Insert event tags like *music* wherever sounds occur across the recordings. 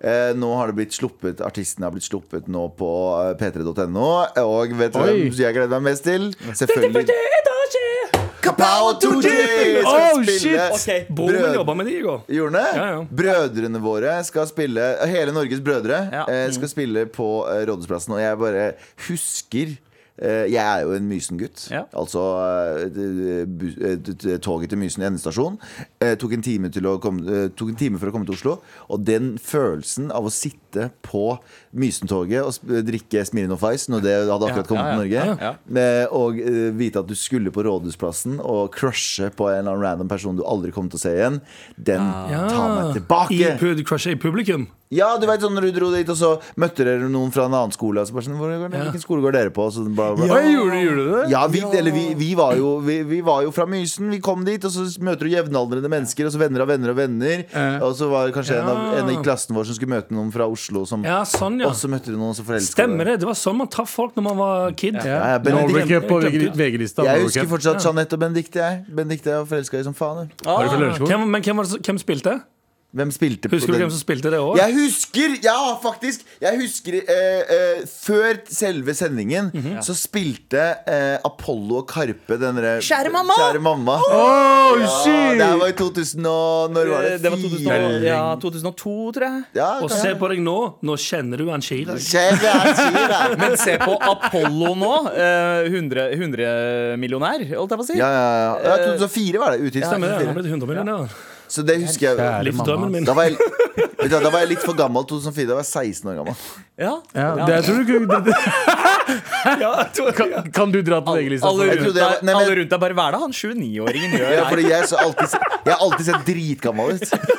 Eh, nå har det blitt sluppet Artistene har blitt sluppet nå på eh, p3.no. Og vet du Oi. hvem jeg gleder meg mest til? Selvfølgelig Kapow og Tooji! Oh, skal spille shit! Ok, Brød- Broren min jobba med de i går. Gjorde den det? Ja, ja. Brødrene våre skal spille Hele Norges brødre Ja. Mm. eh, skal spille på eh, Rådhusplassen. Og jeg bare husker eh, Jeg er jo en Mysen-gutt. Ja. Altså eh, d- bu- eh, d- d- toget til Mysen endestasjon. Eh, tok, en time til å komme, eh, tok en time for å komme til Oslo. Og den følelsen av å sitte på Mysentoget og sp- drikke Smirnov Ice når det hadde akkurat Ja, kommet ja, ja. til Norge, Ja, ja. Eh, Og eh, vite at du skulle på Rådhusplassen og crushe på en eller annen random person du aldri kommer til å se igjen, den Ah. tar meg I tilbake. pud crushet i publikum. Ja, du vet sånn når du dro dit, og så møtte dere noen fra en annen skole. Og så bare sånn, "Hvor- hvor- Hvilken skole går dere på? Og Så bla, bla, bla. Oi, gjorde, gjorde du det? Ja, vi, eller vi, vi, var jo, vi, vi var jo fra Mysen. Vi kom dit, og så møter du jevnaldrende mennesker. Og så venner av venner og venner. Eh. Og så var det kanskje en, av, Ja. en i klassen vår som skulle møte noen fra Oslo. Som, Ja, sånn, ja. Og så møtte du noen som forelska Stemmer det. Det var sånn man traff folk når man var kid. ja, Norway Benedikt, Cup på Jeg glemte- VG-lista. jeg Norway husker Cup. fortsatt Jeanette og Benedicte. Jeg. Benedicte er forelska i som faen. jeg. Har du fra Ah, Lørenskog? hvem, men hvem, var det, som- hvem spilte? Hvem spilte på Husker du den? hvem som spilte det òg? Jeg husker, ja faktisk Jeg husker eh, eh, Før selve sendingen Så spilte eh, Apollo og Karpe den derre- Kjære mamma! Kjære mamma Oh, ja, shit! Det her var i 2000 og Når var det? Det var 2000, Fire- ja, 2002, tror jeg. *laughs* ja, Og se på deg nå. Nå kjenner du han Chirag. Kjære jeg sier det. Men se på Apollo nå. eh, 100, 100 millionær, holdt jeg på å si. ja, ja, ja. ja, 2004 var det utgitt Stemmer det. Han ble 100 millioner. Så det husker jeg Kjære Livsdrømmen min. da var jeg, vet du, hva, da var jeg litt for gammel 2004, da var jeg 16 år gammel Ja. Ja, det, jeg tror du kunne, det, det. Kan, kan du dra til VG-lista? Alle Jeg rundt, trodde jeg var- deg, Nei, men- alle rundt deg bare Hva er det han 29-åringen gjør? ja, fordi jeg, så alltid, jeg har alltid sett dritgammel ut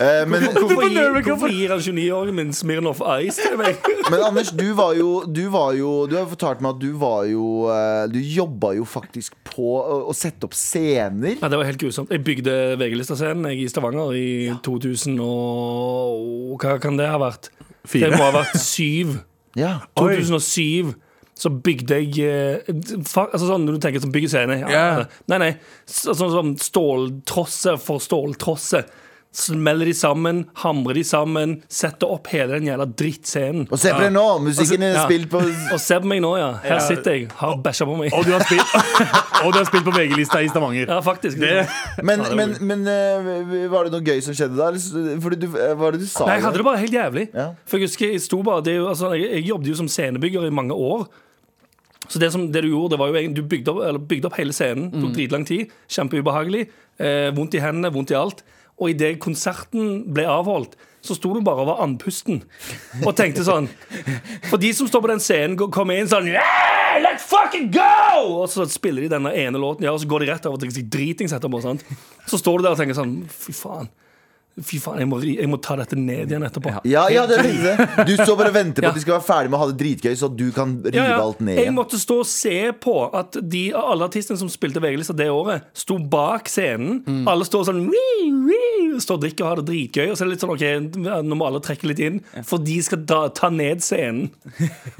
Eh, men, Hvorfor gjør du gir, ikke- hvorfor gir han 29-åringen min Smirnoff Ice til *laughs* meg? Men Anders, du var jo Du, var jo, du har jo fortalt meg at du var jo eh, Du jobba jo faktisk på å, å sette opp scener. Ja, det var helt grusomt. Jeg bygde VG-listascenen jeg, i Stavanger i 2000 og og Hva kan det ha vært? Fire. Det må ha vært syv. Ja. *laughs* Oi. 2007 så bygde jeg eh, fa- altså sånn, Når du tenker sånn bygge scene ja. Ja. Nei, nei. Så, sånn som ståltrosse for ståltrosse. Smeller de sammen, hamrer de sammen, setter opp hele den jævla drittscenen. Og se på det nå! Musikken er Ja. spilt *laughs* på Og se på meg nå, ja. Her sitter jeg, har bæsja på meg. *laughs* Og du har spilt, *laughs* og du har spilt på VG-lista i Stavanger. Ja, faktisk. Men, Ja, det var men, men eh, var det noe gøy som skjedde da? eller s- Fordi du, eh, hva var det du sa? Nei, jeg hadde det bare helt jævlig. Ja. For jeg husker, jeg sto bare det er jo, altså, jeg, jeg jobbet jo som scenebygger i mange år. Så det, som, det du gjorde, det var jo egentlig Du bygde opp, eller bygde opp hele scenen. Mm. Tok dritlang tid. Kjempeubehagelig. Eh, vondt i hendene, vondt i alt. Og idet konserten ble avholdt, så sto du bare og var andpusten. Og tenkte sånn For de som står på den scenen, går- kommer inn sånn yeah, Let's fucking go! Og så spiller de denne ene låten, ja, og så går de rett over til dritings etterpå. Sant? Så står du der og tenker sånn Fy faen. Fy faen, jeg må, ri- jeg må ta dette ned igjen etterpå. Ja, ja, det tenkte jeg. Du står bare og venter på *laughs* Ja. at de skal være ferdig med å ha det dritgøy, så du kan rive Ja, ja. alt ned Jeg igjen. måtte stå og se på at de, alle artistene som spilte VG-lista det året, sto bak scenen. Mm. Alle står sånn wii, wii, Står og drikker og har det dritgøy. Og så er det litt sånn, ok, nå må alle trekke litt inn, for de skal da, ta ned *laughs* scenen.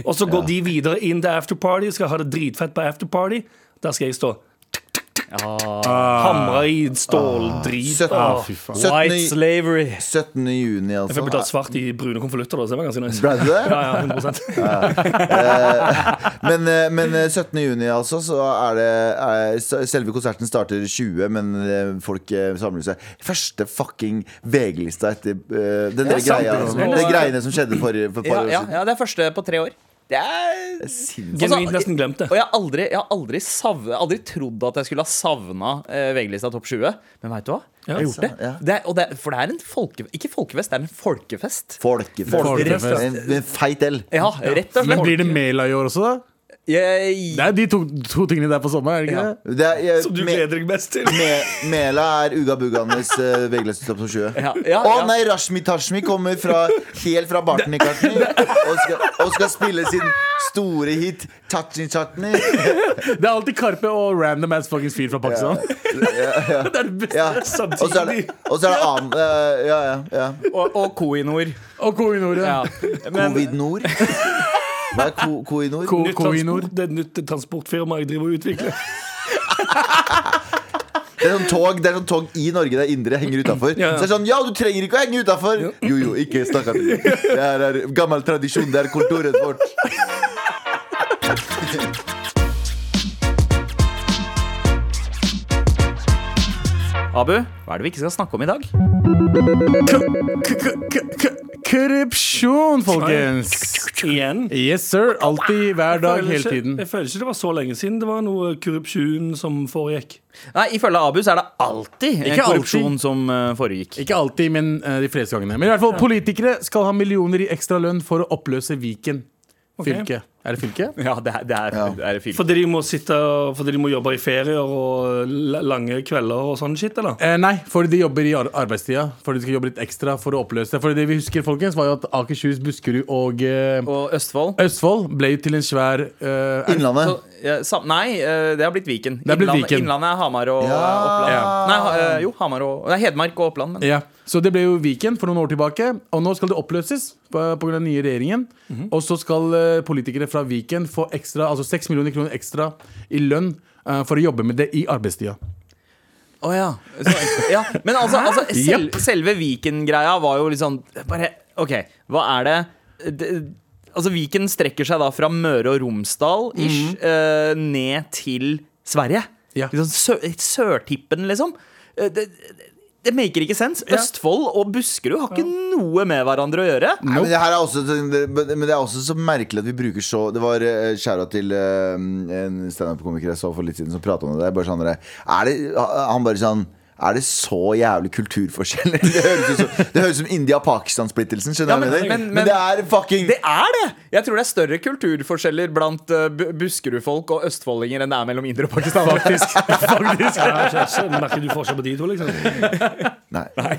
Og så går de videre inn til afterparty, skal ha det dritfett på afterparty. Der skal jeg stå. Ah. Hamra i ståldrit. Søtten- Åh. White 17. slavery. 17. juni, Jeg fikk altså. betalt svart i brune konvolutter, da, så det var ganske nice. Ble det det? *laughs* Ja, ja, 100 Ah. Men, eh, *laughs* men eh, 17. juni altså, så er det er, s- Selve konserten starter 20, men eh, folk eh, samler seg. Første fucking VG-lista etter eh, den der sant, greia, det er som, sant. det greiene som skjedde for, eh, for et Ja, par år ja, siden. ja, det er første på tre år. Det er Sinnssykt. Genuint nesten glemt det. Altså, Og jeg har aldri, jeg har aldri, savnet, aldri trodd at jeg skulle ha savna eh, VG-lista Topp 20. Men veit du hva? Jeg har gjort det. Ja. det, er, og det er, for det er en folke, ikke folkefest, det er en folkefest. Folkefest. Folkefest. En, en feit L. Ja, rett og slett. Men blir det Mela i år også, da? Jeg- Det er de to, to tingene der på sommeren, er det ikke Ja. det? Det er, jeg, Som du me, gleder deg mest til. me, Mela er Uga Buganes uh, VG-lista på 20. Ja, ja, Å ja. nei, Rashmi Tashmi kommer fra, helt fra Barton i *laughs* Kartny og, skal- og skal spille sin store hit Tatni Tatni. Det er alltid Karpe og random ass fuckings fyr fra Pakistan. *laughs* Det er det beste Ja. *laughs* samtidig. Og så er det, og så er det annen eh, Ja, ja, ja. Og, og Koinor. Og Koinor. Ja. Ja. Men, Covid-Nord? Hva er ko Koinor? Ko Nytt Koinor. *laughs* transport, det er et nytt transportfirma jeg driver og utvikler. Det er sånn tog, det er sånn tog i Norge der indre henger utafor. Ja, ja. Så det er sånn, ja, du trenger ikke å henge utafor! Jo, jo, ikke stakkar. Det her er gammel tradisjon. Det er kulturen vårt. Abu, hva er det vi ikke skal snakke om i dag? Korrupsjon, folkens! Igjen. Yes, sir. Alltid, hver dag, hele ikke, tiden. jeg føler ikke det var så lenge siden det var noe korrupsjon som foregikk. Nei, Ifølge Abu så er det alltid en Ikke alltid. korrupsjon som eh, foregikk. Ikke alltid, men eh, de fleste gangene. Men i hvert fall, politikere skal ha millioner i ekstra lønn for å oppløse Viken fylke. Er det fylke? Ja, det er, det er, det er fylke. Fordi de må, sitte, og- fordi de må jobbe i ferier og la- lange kvelder og sånn shit, eller? Eh, nei, fordi de jobber i ar arbeidstida. Fordi de skal jobbe litt ekstra for å oppløse det. For det vi husker, folkens, var jo at Akershus, Buskerud og eh, Og Østfold Østfold ble jo til en svær eh, er- Innlandet. så, eh, sam, Nei, eh, det har blitt Viken. Det har blitt Innlandet- Viken. Innlandet er Hamar og eh, Oppland. Ja. Nei, ha, eh, jo, Hamar og Nei, Hedmark og Oppland. Men. Ja, Så det ble jo Viken for noen år tilbake, og nå skal det oppløses pga. den nye regjeringen. Og så skal eh, politikere fra Viken få ekstra, altså 6 millioner kroner ekstra i lønn eh, for å jobbe med det i arbeidstida. Å ja. Så, ja. Men altså, altså sel, Japp. selve Viken-greia var jo litt sånn bare, OK, hva er det, det Altså, Viken strekker seg da fra Møre og Romsdal ish, eh, ned til Sverige. Mhm. Ja. Litt sånn sø, sørtippen, liksom. Eh, det, det, det maker ikke sens. Østfold og Buskerud har ikke noe med hverandre å gjøre. Nei, men, det her er også, men men det er også så merkelig at vi bruker så Det var eh, skjæra til eh, en standup-komiker jeg så for litt siden, som prata om det der. Bare sånn, der, er det, han bare sånn er det så jævlig kulturforskjeller? *laughs* Det høres ut som, det høres ut som India-Pakistan-splittelsen. Skjønner Ja, du hva jeg men- mener? men- Men, men- det er fucking Det er det! Jeg tror det er større kulturforskjeller blant eh, Bu- Buskerud-folk og østfoldinger enn det er mellom indre og *laughs* Pakistan. *laughs* Faktisk. *laughs* faktisk. Ja, jeg skjønner. merker du forskjell på de to, Eh, liksom? Nei. Nei.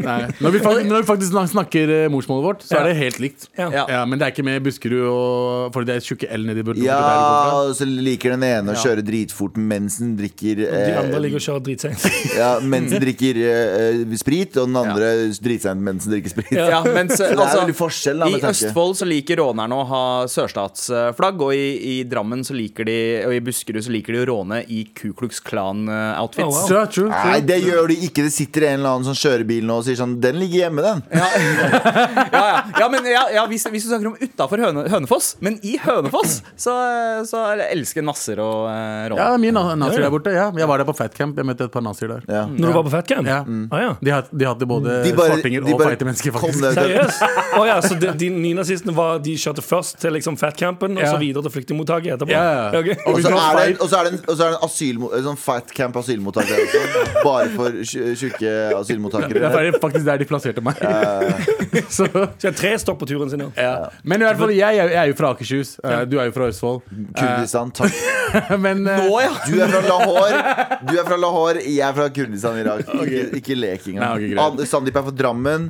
*laughs* Når, vi faktisk, når vi faktisk snak- snakker eh, morsmålet vårt, så er det helt likt. Ja. Ja. men det er ikke med Buskerud og For det er tjukke L-ene de burde Ja, ja. og så liker den ene å kjøre dritfort mens den drikker De eh, andre ligger og kjører *laughs* dritseint. ja, Mens den drikker eh, sprit, og den andre dritseint mens den drikker sprit. Ja, mens, *laughs* Så det er altså, veldig forskjell, da, med I tanke. Østfold så liker rånerne å ha sørstatsflagg, og i, i Drammen så liker de og i Buskerud så liker de å råne i Ku Klux eh, Oh, Klan-outfits. wow. True, true, Nei, true. det gjør de ikke. Det sitter en eller annen som kjører bil nå og sier sånn Den ligger hjemme, den. ja, ja, ja. ja, men ja, ja, hvis, hvis du snakker om utafor Høne, Hønefoss, men i Hønefoss så, eh, så elsker nasser å eh, Ja, det råne. er mye na- nazier der borte. Ja. Jeg var der på Fatcamp. Jeg møtte et par nazier der. Ja. Når du var på fatcam? Ja. Ah, ja. De, hadde, de hadde både De bare- svartinger de og bare feite mennesker, kom faktisk. ned til- Seriøst? Å ja, så de, de nynazistene var De kjørte først til liksom fatcampen, og Ja. så videre til flyktningmottaket etterpå? Ja, ja. ok. Og Og vi så drar er det, feil. og så er det en, og så er det en, asylmo- en sånn fat camp asylmottak der også. Bare for tj- tjukke *laughs* Det asylmottakere. er faktisk der de plasserte meg. Så, Så jeg har tre stopp på turen sin, ja. ja. Men i hvert fall, jeg, er- jeg er jo fra Akershus. Eh, Du er jo fra Østfold. *laughs* Kurdistan, takk. Men eh, Nå, ja! Du er fra Lahore, du er fra Lahore jeg er fra Kurdistan i Irak. Ikke, ikke lek Nei, ok, engang. greit. An- Sandeep er fra *laughs* Drammen.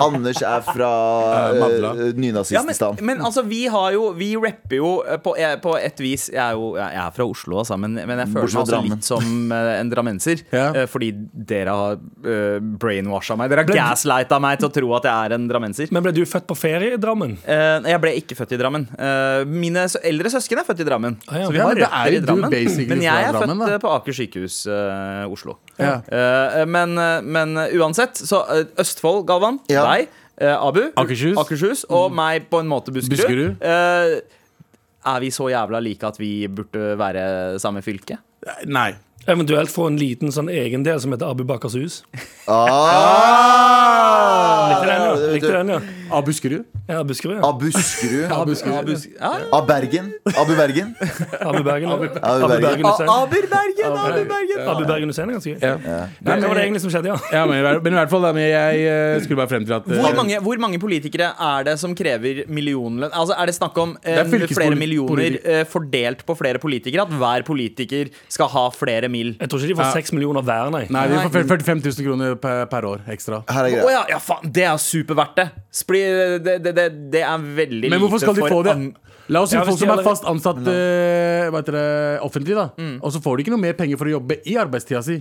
Anders er fra Eh, Madla. eh, Ja, men, nynazististan. men Mm. altså, vi har jo Vi rapper jo eh, på, eh, på et vis Jeg er jo jeg er fra Oslo, altså, men, men jeg føler Bortsett fra meg også Drammen. litt som eh, en drammenser. Ja. eh, Fordi dere har uh, brainwasha meg. Dere har gaslighta meg til å tro at jeg er en drammenser. Men ble du født på ferie i Drammen? Eh, jeg ble ikke født i Drammen. Eh, mine sø eldre søsken er født i Drammen. Ah, ja. Så vi Ja, har men da er røtter i jo du Drammen. basically Men jeg fra er født Drammen, da. eh, på Aker sykehus, eh, Oslo. Ja. Eh, men, men uansett, så eh, Østfold, Galvan, Ja. deg, eh, Abu, Akershus. og meg på en måte Buskerud. Buskerud. Eh, er vi så jævla like at vi burde være samme fylke? Nei. Eventuelt få en liten sånn egen del som heter Abu Bakars hus. Ah! Likte den, ja. Likte den, ja. Av Buskerud. ja Buskerud, ja. Av Buskerud. Av Buskerud. Ja, Av Bergen. Abu Bergen. Abu Bergen. Abu Abu Bergen. Bergen Ah, Hussein. Aber Bergen, Aber Bergen! Abu Bergen Hussein er ganske gøy. Ja. Nei, Hva var det egentlig som skjedde, ja? Ja, men, i hver- men i hvert fall, da, men jeg eh, skulle bare frem til at eh, Hvor mange, hvor mange politikere er det som krever millionlønn? Altså, er det snakk om eh, Det er fylkespoli- flere millioner politi- eh, fordelt på flere politikere? At hver politiker skal ha flere mil? Jeg tror ikke de får seks millioner hver, nei. Nei, vi får 45 000 kroner per, per år ekstra. Her er Å greia. ja, ja, faen! Det er superverdt det. Spli, det, det, det! Det er veldig Men hvorfor lite skal de for få det? an- La oss si Ja, hvis folk de som er allerede- fast ansatt eh, hva heter det, offentlig, da. Mm. Og så får de ikke noe mer penger for å jobbe i arbeidstida si.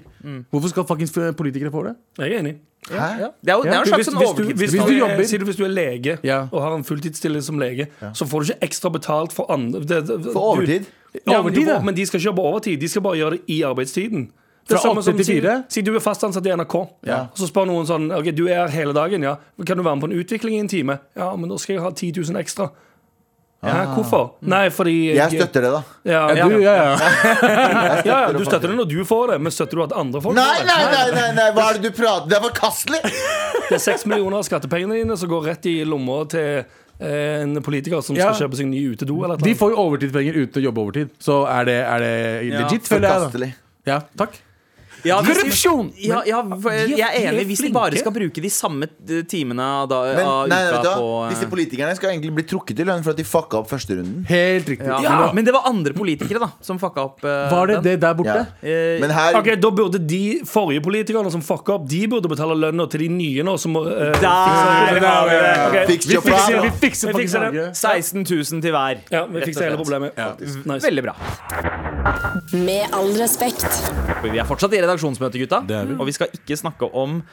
Hvorfor skal fuckings politikere få det? Jeg er enig. Hæ? Det er jo det er Ja, en Hvis, slags sånn hvis, du, hvis, overtidsbetaling. Hvis du, du jobber- er, sier du, hvis du er lege Ja. og har en fulltidsstilling som lege, så får du ikke ekstra betalt for andre det, det, For overtid? Ja, men, Overtid, de, ja. men de skal ikke jobbe overtid. De skal bare gjøre det i arbeidstiden. Det er Fra samme åtte som til si- fire? Si du er fast ansatt i NRK. Ja. Og Så spør noen sånn Ok, du er her hele dagen, ja. Kan du være med på en utvikling i en time? Ja, men da skal jeg ha 10 000 ekstra. Ja, hvorfor? Nei, fordi Jeg støtter det, da. Ja, Ja, ja, du, ja, ja, ja. ja, du støtter det når du får det, men støtter du at andre får Nei, det? nei, nei, nei, nei. hva er det du prater Det er forkastelig! Det er seks millioner av skattepengene dine som går rett i lomma til eh, en politiker som Ja. skal kjøpe seg ny utedo. Eller De noe. får jo overtidspenger uten å jobbe overtid. Så er det, er det legit, føler jeg. Forkastelig. da. Ja, takk. Ja, hvis de- Korrupsjon! Ja, ja, for, de er- jeg de er er enig hvis de flinke. bare skal bruke de samme eh, timene av da- Men av nei, vet du uka hva? på eh, disse politikerne skal egentlig bli trukket i lønn for at de fucka opp førsterunden. Helt riktig. ja. Men da- Men det var andre politikere da som fucka opp. eh, Var det den. det der borte? Ja. Eh, Men her Ok, Da burde de forrige politikerne som fucka opp, de burde betale lønna til de nye nå. Som, må, eh, Der har vi det! Ok, Fiks Vi your fikser, vi problem. fikser Vi faktisk fikser det. Norge. 16 000 til hver. Ja, vi fikser hele problemet. Nice. Veldig bra. Med all respekt. Vi er fortsatt i redaksjonsmøte, gutta. Det er vi. Og vi skal ikke snakke om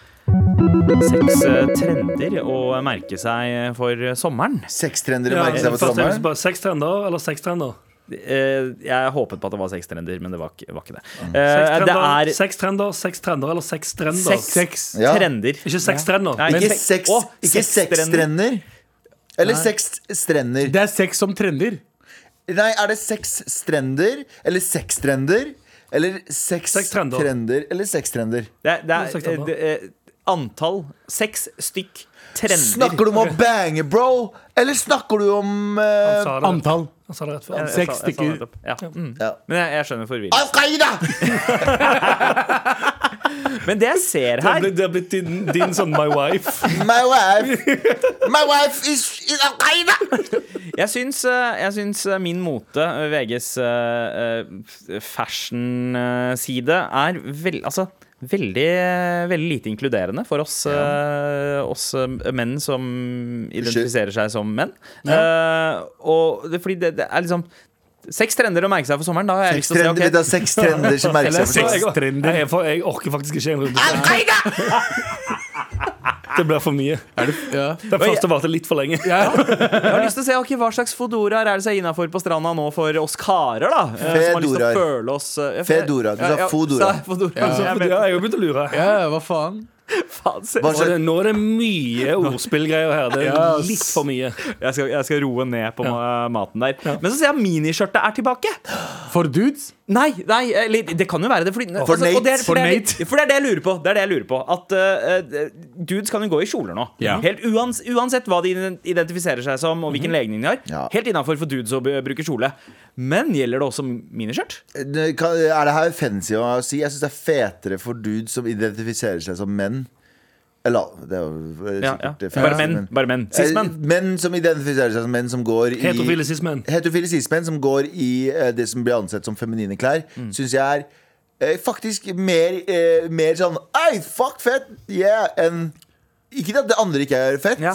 seks eh, trender å merke seg for sommeren. Sextrendere Ja, merker seg på først er det sommeren. bare Seks trender eller seks trender? Eh, Jeg håpet på at det var seks trender, men det var ikke, var ikke det. Seks Eh, Det trender, er seks trender, seks trender eller seks trender? seks Seks. Ja. trender. Ikke seks trender. Nei, Ikke men- sex, Å, ikke sexstrender. Eller sexstrender. Det er sex som trender. Nei, er det sexstrender? Eller sextrender? Eller Sextrender. sextrender? Eller sextrender? Det er, det Ja, seks er eh, trender. det er antall. Seks stykk trender. Snakker du om å bange, bro? Eller snakker du om eh, sa det. Antall. Han sa det rett før. Seks stykker. Ja. Mm. Ja. Men jeg, jeg skjønner forvirringen. Al Qaida! Men det jeg ser her Det har blitt din, din sånn My Wife. My wife My wife is, is Al Qaida! Jeg syns, eh, jeg syns eh, min mote, eh, VGs eh, eh, fashion-side, er vel, altså, veldig, eh, veldig lite inkluderende for oss, eh, oss eh, menn som identifiserer seg som menn. Eh, og det, fordi det, det er liksom Seks trender å merke seg for sommeren. Da har jeg lyst til å Sextrender, si, det ok, er sextrender som merker seg Så på Eller sommeren. jeg, Sextrender. Nei, jeg, får- jeg orker faktisk ikke en runde. Al Qaida! Det blir for mye. Ja. Den første varte litt for lenge. jeg har lyst til å se ok, hva slags fodoraer er det som er innafor på stranda nå for oss karer, da? eh, Som har lyst til Fedoraer. å føle oss eh, ja, Fedora, du sa ja, ja, fodora. sa jeg fodora, så jeg Ja, mente, jeg har jo begynt å lure. ja, hva faen? faen, se- Hva Nå er det, slags nå er det mye ordspillgreier her. Det Ja, er ass. litt for mye. Jeg skal, jeg skal roe ned på ma- maten der. Men så ser jeg at miniskjørtet er tilbake! For dudes? Nei, nei, eller det kan jo være det. Fordi, For altså, og det er, Nate. for, det er, For for det er det jeg lurer på. Det er det jeg lurer på At eh, eh, Dudes kan jo gå i kjoler nå. Ja. Helt uans, Uansett hva de ident- identifiserer seg som, og hvilken legning de har. Ja. Helt innafor for dudes å b- bruke kjole. Men gjelder det også miniskjørt? Det kan- Er det her fancy å si? Jeg syns det er fetere for dudes som identifiserer seg som menn. Eller det er jo eh, Ja, ja. sikkert eh, fancy, Bare menn. men- Bare menn. Cis menn. Eh, Menn som identifiserer seg som menn som går i Heterofile cis-menn. Heterofile cis-menn som går i eh, det som blir ansett som feminine klær, Mm. Synes syns jeg er eh, faktisk mer, eh, mer sånn Ei, fuck, fett! Yeah! Enn Ikke at det andre ikke er fett, Ja.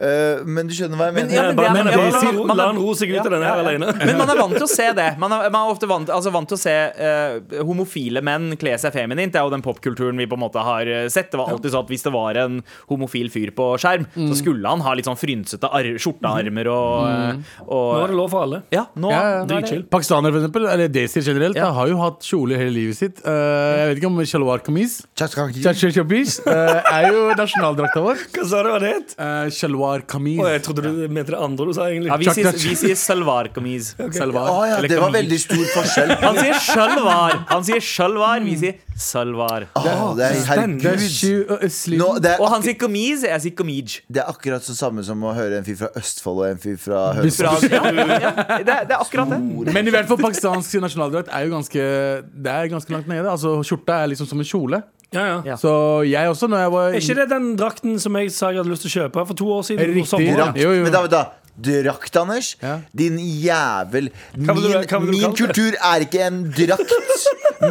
eh, men du skjønner hva jeg mener. ja, men det er- Bare- men la- ja, man- la- man- La han roe seg ut av denne her alene. Men man er vant til å se det. Man er, man er ofte vant, altså vant til å se eh, homofile menn kle seg feminint. Det er jo den popkulturen vi på en måte har eh, sett. Det var alltid sånn at Hvis det var en homofil fyr på skjerm, så skulle han ha litt sånn frynsete ar skjortearmer og, eh, og Nå er det lov for alle. Ja, nå Ja, nå ja. er det- Dritchill. Pakistanere, for eksempel, eller desir generelt, Ja. da, har jo hatt kjole hele livet sitt. Eh, jeg vet ikke om shalwar kameez Tja, Chachachapis er jo nasjonaldrakta vår. Hva sa du var det? Uh, shalwar kameez Å, jeg trodde du mente det andre du sa, egentlig. Ja, vi Chuck sier, Dutch. vi sier salvar kameez. *laughs* Salwar. Å ja, Eller det var kameez. veldig stor forskjell. Han sier sjalvar. Han sier sjalvar, vi sier salvar. Å, det er, Det er herregud. sju- og- slim. Nå, det, er Og han akkurat, sier kameez, jeg sier kameej. det er akkurat så samme som å høre en fyr fra Østfold og en fyr fra Buss- Hønefoss. Bra. Ja, ja, det, er- det er akkurat det. Men i hvert fall pakistansk nasjonaldrakt er jo ganske Det er ganske langt nede. Altså Skjorta er liksom som en kjole. Ja, ja. Ja. Så jeg også, når jeg var Er ikke det den drakten som jeg sa jeg hadde lyst til å kjøpe for to år siden? Riktig. på sommeren? Drakt. Jo, jo. Men da, da Drakt, Anders. Ja. Din jævel. Min, Hva vil du- hva vil du min kalle det? kultur er ikke en *laughs* drakt.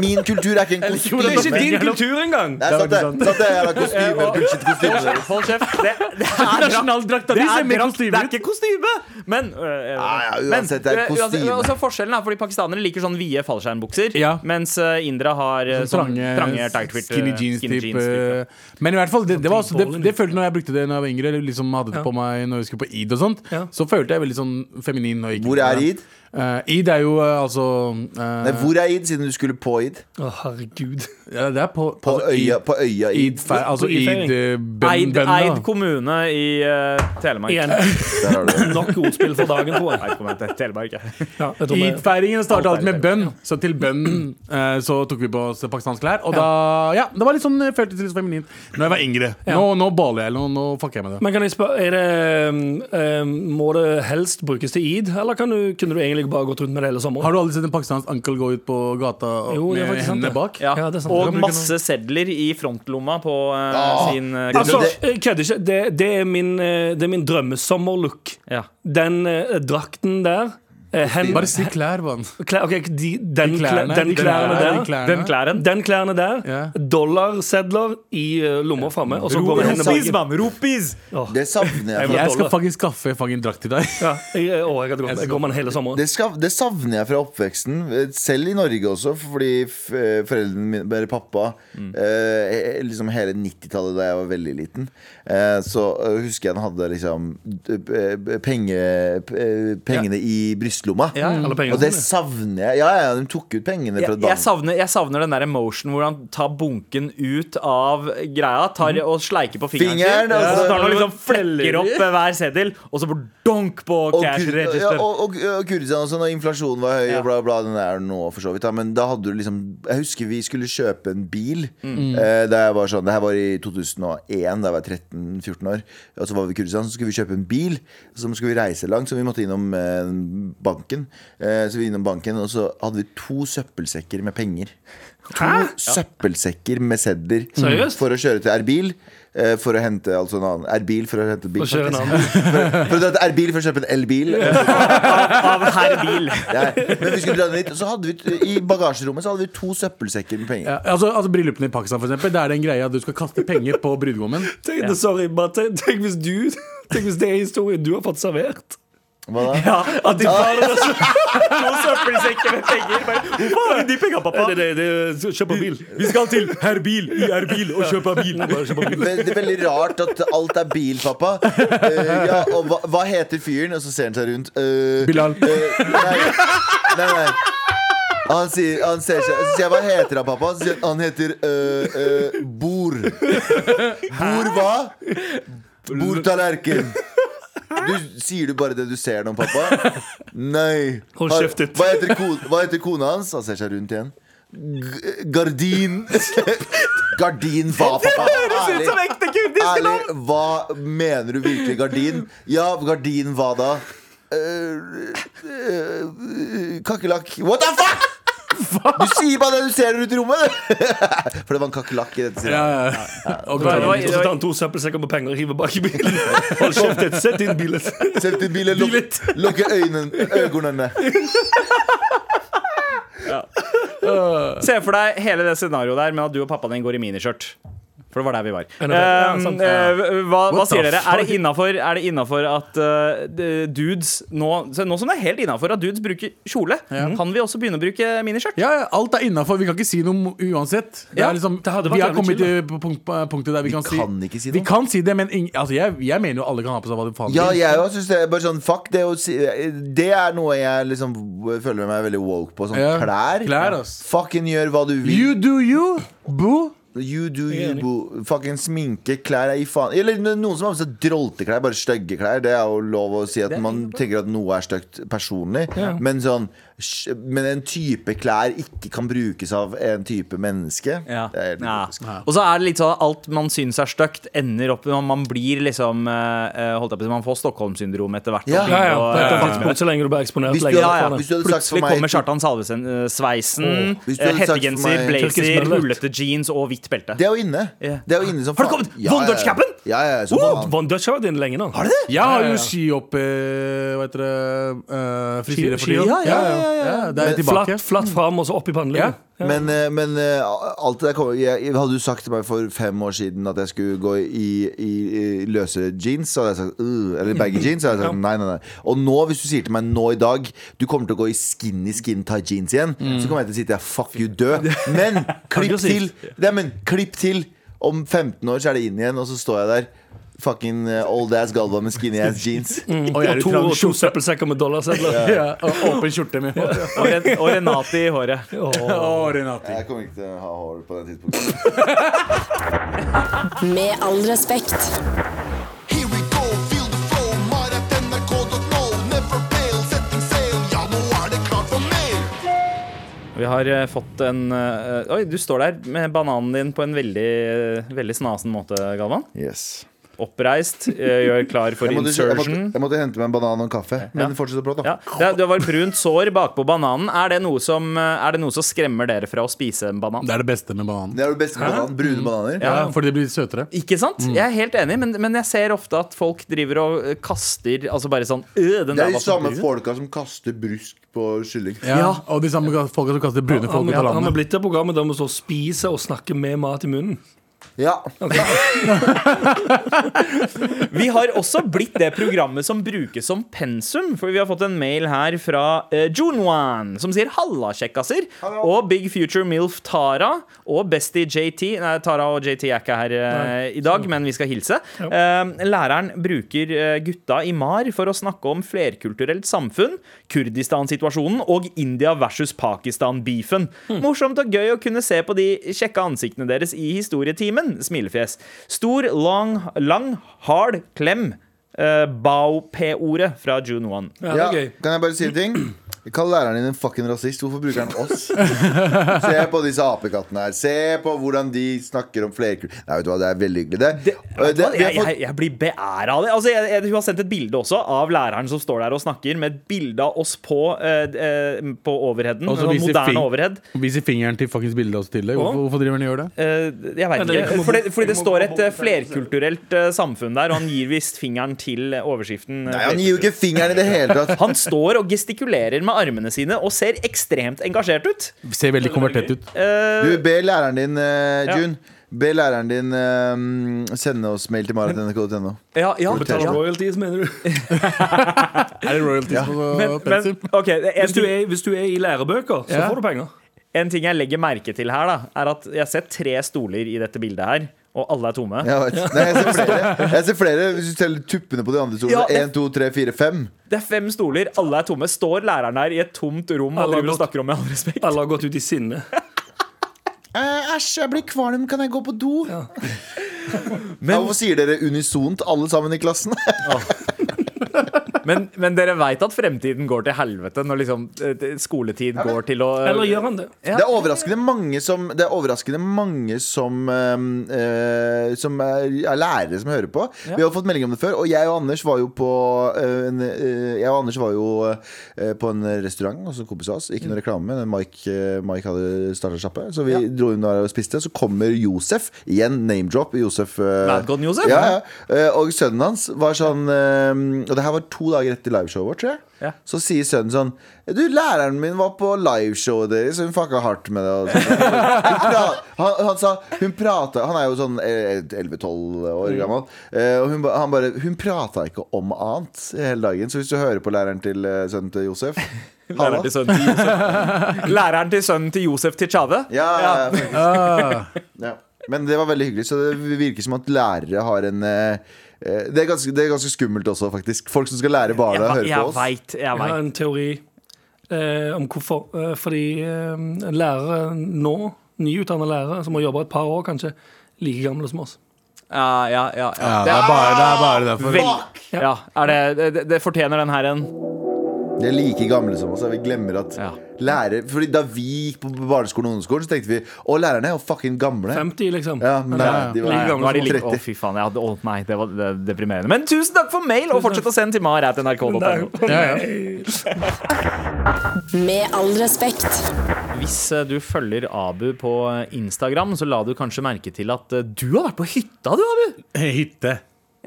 Min kultur er ikke en kostyme. Det er ikke din Men- kultur engang! Nei, sant det. Sant det, jævla kostyme. Bullshit kostyme. Hold kjeft. Det, det er Nasjonaldrakta Det di er, ser mer drakt, kostyme det er ut. ikke kostyme! Men, øh, øh, ja, uansett, det er øh, uansett, kostyme. også forskjellen er fordi Pakistanere liker sånn vide fallskjermbukser, Ja. mens øh, indere har øh, sånn Trange, trange tight-fit, øh, skinny jeans skinny type. jeans-type. Men i hvert fall, det, det, var også, det, Bowling, det følte når jeg brukte det når jeg var yngre, eller liksom hadde det på meg når jeg skulle på id og sånt, Ja. så følte jeg veldig sånn feminin. Og ikke, Hvor er id? Eh, Eid er jo eh, altså eh, Nei, hvor er id, siden du skulle på id? Å, herregud. ja, Det er på, På altså, øya, på øya Eid, id. Eid, fe- altså På Eid-feiring. Eid-bønnen. Eid, Eid kommune i eh, *laughs* Telemark. Igjen. Der har du det. Nok ordspill for dagen, tror jeg. Eid kommune til Telemark, ja. Ja, jeg tror vi- Eid-feiringen starta Alt er alltid med bønn, så til bønnen eh, så tok vi på oss pakistanske klær. Og da Ja, det var litt sånn eh, føltes litt feminint Når jeg var yngre. Ja. Nå, nå baler jeg, nå, nå fucker jeg med det. men kan jeg spørre, er det, um, um, må det helst brukes til id, eller kan du, kunne du egentlig bare gått rundt med det hele sommeren? Har du aldri sett en pakistansk uncle gå ut på gata og- Jo, det er med faktisk sant, det. hendene bak? ja. Ja, det er sant. Og Kan bruke masse sedler i frontlomma på eh, Ah, sin eh, det- Altså, kropp. det- jeg kødder ikke. Det, det er min, eh, det er min drømmesommerlook. Ja. Den eh, drakten der eh, hen, Bare si klær, mann. klær, ok, de, den, De klærne, den klærne der. de klærne. Den klæren. Den klærne der. Ja. Dollarsedler i eh, lomma framme, og så går vi hendene Ropis, bak. mann! Ropis! Det savner jeg. fra- Jeg skal dollar. faktisk skaffe fangen drakt til deg. Ja, jeg, å, jeg hadde gått. Jeg går med den hele sommeren. Det, skav, det savner jeg fra oppveksten, eh, selv i Norge også, fordi f- eh, foreldrene mine, bare pappa Mm. eh, eh, Liksom hele 90-tallet da jeg var veldig liten, eh, så eh, husker jeg han hadde liksom d- eh, penge, p- eh, pengene i brystlomma. Alle pengene Og det sine. savner jeg. Ja, ja, de tok ut pengene fra Jeg, jeg, dagen. savner, jeg savner den der emotion hvor han tar bunken ut av greia tar og sleiker på fingeren. Mhm. Fingeren, sin, og altså. så tar han og liksom flekker opp eh, hver seddel, og så bare donk på Og, cash Kur- ja, register. og, og, og Kurdistan også, når inflasjonen var høy, Ja. og bla, bla. Den er nå for så vidt, da. Men da hadde du liksom Jeg husker vi skulle kjøpe en bil. Mm. Eh, da jeg var sånn, Det her var i 2001, da jeg var 13-14 år. Og så var vi i Kurdistan, så skulle vi kjøpe en bil. Så skulle vi reise langt, så vi måtte innom eh, banken. Eh, så vi innom banken, og så hadde vi to søppelsekker med penger. To søppelsekker med sedler Seriøst? for å kjøre til Erbil. eh, For å hente altså en annen Erbil for å hente bil. Og kjører en faktisk. annen. *laughs* For å dra til Erbil for å kjøpe en elbil. *laughs* Av herr bil. *laughs* Ja, Men vi skulle dra dit, og så hadde vi I bagasjerommet så hadde vi to søppelsekker med penger. Ja, altså, altså Bryllupene i Pakistan, for eksempel. Da er det en greie at du skal kaste penger på brudgommen. Tenk, sorry, bare tenk, tenk hvis du *laughs* Tenk hvis det er historien du har fått servert. Hva da? Ja, at de tar og så- to søppelsekker med penger. Bare, Hvorfor har du de penga, pappa? Det, det, det, kjøp en bil. Vi skal til herr bil i herr bil og kjøpe bil. Det det er veldig rart at alt er bil, pappa. Eh, ja, og hva, hva heter fyren? Og så ser han seg rundt. eh, Bilal. eh, nei, nei, nei. Han, sier, han ser seg Så sier jeg hva heter han, pappa? Så sier han han heter eh, eh, Bor. Bor hva? Bordtallerken. Du, sier du bare det du ser nå, pappa? Nei. Hold Har- kjeft ditt. Hva heter, ko- hva heter kona hans? Han ser seg rundt igjen. G gardin. Gardin hva, pappa? Høres ut som Ærlig. ekte kurdiske navn! Ærlig, hva mener du virkelig? *laughs* Gardin? Ja, gardin hva da? Uh, eh, kakerlakk. What the fuck?! Du sier bare det du *laughs* ser rundt i rommet! For det var en kakerlakk i dette Ja, stedet. ja, ja. Og var- det var- Så tar han to søppelsekker med penger og hiver bak i bilen. Hold kjeft, ditt. sett inn bilen. Sett i bilen, *laughs* lukk lukke øynene, øynene. Se for deg hele det scenarioet der med at du og pappaen din går i miniskjørt. For det var der vi var. det- ja, Eh, sant. eh, hva hva What the sier dere? Er fuck? det innafor at eh, de- dudes nå se, Nå som det er helt innafor at dudes bruker kjole, kan vi også begynne å bruke miniskjørt? ja, ja, alt er innafor. Vi kan ikke si noe uansett. Det Ja, er liksom, det hadde vært vi har jævlig kommet chill, til punkt, punktet der Vi vi, kan, kan si ikke si Vi noe. kan si det, men ing, altså, jeg, jeg mener jo alle kan ha på seg hva de faen Ja, vil. jeg òg syns det. er Bare sånn, fuck det å si Det er noe jeg liksom føler meg veldig woke på. Sånn Ja, klær. klær, ass. Fucking gjør hva du vil. You do you, boo. You, do you, boo. Fucking sminke. Klær er i faen Eller noen som har med seg drolteklær, bare stygge klær. Det er jo lov å si at man tenker at noe er stygt personlig, men sånn sj- Men en type klær ikke kan brukes av en type menneske. Det er helt Ja. idiotisk. Og så er det litt sånn at alt man syns er stygt, ender opp Man, man blir liksom eh, eh, holdt jeg på, å si, Man får Stockholm-syndrom etter hvert. Ja. og Ja, ja. begynner På et å, eh, eller annet tidspunkt, så lenge du blir eksponert Hvis du hadde- lenge. nok for ja. det. Hvis du hadde sagt for Plutselig meg kommer Kjartan Salvesen-sveisen. Hvis du hadde sagt for eh, hettegenser, meg- Tyrkisk blazer, mullet. rullete jeans og hvitt belte. Det er jo inne. Ja. Det er jo inne som Har det faen. kommet Von Dutch-cappen? Ja, ja, ja, som Wow, faen. Von Dutch har vært inne lenge nå. Har det? Jeg har Ja, ja, jo ja. ski opp eh, Hva heter det eh, frisyre for Ski- tiden. ski opp? ja. Det er Men tilbake. Flatt, flatt fram og så opp i Ja. panneluggen. Men, eh, men eh, alt det der kommer jeg, jeg- Hadde du sagt til meg for fem år siden at jeg skulle gå i, i, i løse jeans, så hadde jeg sagt «Ugh», Eller baggy jeans, så hadde *laughs* jeg sagt nei, nei, nei. Og nå, hvis du sier til meg nå i dag du kommer til å gå i skinny skin tight jeans igjen, Mm. så kommer jeg til å si til deg fuck you, *laughs* dø. Men klipp til! Nei, men klipp til! Om 15 år så er det inn igjen, og så står jeg der. fucking eh, old ass Galvan med skinny ass *laughs* jeans. Mm. Og jeg er Og i to, trang to skjorte. søppelsekker med dollarsedler. Ja, og åpen skjorte *laughs* med hår. Og, Ren og Renate i håret. Å, Renati. Jeg kommer ikke til å ha hår på det tidspunktet. Med all respekt. Here we go, feel the flow. Mar.nrk.no. Never fail, setting sail. Ja, nå er det klart for mer. Vi har eh, fått en eh, Oi, du står der med bananen din på en veldig, eh, veldig snasen måte, Galvan. Yes. Oppreist, eh, gjør klar for Jeg måtte, jeg, måtte, insertion. jeg måtte hente meg en banan og en kaffe. Men fortsett å prate, da. Ja, det, det var et brunt sår bakpå bananen. Er det, noe som, eh, er det noe som skremmer dere fra å spise en banan? Det er det beste med bananen. Det er jo det beste med banan. Brune bananer. Ja, fordi det blir søtere. Ikke sant? Mm. Jeg er helt enig, men, men jeg ser ofte at folk driver og eh, kaster Altså bare sånn øh, Det den er der de var så samme brun. folka som kaster brusk på kylling. Ja, og de samme folka som kaster brune folk Han, ut av han, han er landet. blitt det programmet der vi står og spiser og snakker med mat i munnen. Ja. Vi har også blitt det programmet som brukes som pensum. For vi har fått en mail her fra uh, Junwan, som sier 'halla, kjekkaser'. Og Big Future Milf Tara og Bestie JT. Nei, Tara og JT er ikke her eh, i dag, men vi skal hilse. Eh, læreren bruker eh, gutta i MAR for å snakke om flerkulturelt samfunn, Kurdistan-situasjonen og India versus Pakistan-beefen. Hmm. Morsomt og gøy å kunne se på de kjekke ansiktene deres i historietimen. Smilefjes. Stor, lang, lang hard klem. Eh, Bao-P-ordet fra June 1. Ja, det ja. er gøy. Kan jeg bare si en ting? Kall læreren din en fucking rasist. Hvorfor bruker han oss? Se på disse apekattene her. Se på hvordan de snakker om flerkultur... Nei, vet du hva, det er veldig hyggelig, det. Det, Og det- vi har jeg, fått- jeg, jeg blir beæra av det. Altså, jeg, jeg, hun har sendt et bilde også av læreren som står der og snakker, med et bilde av oss på, eh, eh, på overheaden. Og så sånn viser moderne fing- overhead. Viser fingeren til fuckings bildet også til deg. Hvorfor, hvorfor driver han og gjør det? Eh, jeg Ja, vet det ikke. kommer- Fordi, fordi det kommer- står et eh, kommer- flerkulturelt eh, samfunn der, og han gir visst fingeren til eh, overskriften. eh, Nei, han gir jo ikke fingeren i det hele tatt. Han står og gestikulerer med armene sine og ser ekstremt engasjert ut. Ser veldig konvertert ut. Eh, Du, be læreren din, eh, Ja. June. Be læreren din eh, sende oss mail til maratnrk.no. ja, ja, Betaler ja. royalties, mener du? Er det royalties på Men, men pensum? ok, en, Hvis du ting, er, hvis du er i lærebøker, så Ja. får du penger. en ting jeg legger merke til her, da, er at jeg ser tre stoler i dette bildet her, og alle er tomme. Jeg, vet. Nei, jeg ser flere. Jeg ser flere Hvis du teller tuppene på de andre Ja, stolene. jeg- Én, to, tre, fire, fem. Det er fem stoler, alle er tomme. Står læreren her i et tomt rom Alle og har driver og gått. snakker om med all respekt? Alle har gått ut i sinne. Eh, Æsj, jeg blir kvalm. Kan jeg gå på do? *laughs* Men, hvorfor sier dere unisont, alle sammen i klassen? *laughs* Men, men dere veit at fremtiden går til helvete når liksom eh, skoletid går til å Eller gjør han det? Det er overraskende mange som Det er overraskende mange som ehm, eh, Som er, er lærere som hører på. Vi har fått melding om det før, og jeg og Anders var jo på eh, en, eh, Jeg og Anders var jo eh, på en restaurant hos en kompis av oss. Ikke noe reklame, men Mike, eh, Mike hadde starta sjappe. Så vi dro inn der og spiste. Så kommer Josef, igjen name-drop. Josef eh, Madcon Josef? Ja, ja. Eh, Og sønnen hans var sånn eh, Og det her var to dager etter liveshowet vårt, tror jeg. Ja. Så sier sønnen sånn Du, læreren min var på liveshowet deres, hun fucka hardt med det. Og sånn. hun pra han, han sa Hun prata Han er jo sånn eh, 11-12 år Mm. gammel. Eh, Og hun, ba- han bare Hun prata ikke om annet hele dagen. Så hvis du hører på læreren til eh, sønnen til Josef *laughs* Halla. Læreren til sønnen til *laughs* Josef Læreren til sønnen til Josef Tichave? Ja, ja, ja, faktisk. Ah, Ja. Men det var veldig hyggelig, så det virker som at lærere har en eh, eh, det er, ganske, det er ganske skummelt også, faktisk. Folk som skal lære Jeg, barna å høre jeg på oss. veit, jeg Jeg har veit. en teori eh, om hvorfor. Eh, fordi eh, lærere nå, nyutdannede lærere som har jobba et par år, kanskje, like gamle som oss. Ja, ja, ja, ja. ja, det, er bare, det er bare derfor. Vel, ja, er det, det, det fortjener den her en. De er like gamle som oss. og Vi glemmer at Ja. lærere Fordi Da vi gikk på barneskolen og ungdomsskolen, så tenkte vi å, lærerne er jo fucking gamle. 50, liksom. Ja, men nei, de var Nei, Like gamle nå er de som like- Å, 30. fy faen. Jeg hadde, å, nei, det var det, er deprimerende. Men tusen takk for mail, og fortsett å sende til mar.nrk.no. Ja, ja. Med all respekt. Hvis eh, du følger Abu på eh, Instagram, så la du kanskje merke til at eh, du har vært på hytta, du, Abu. Hytte.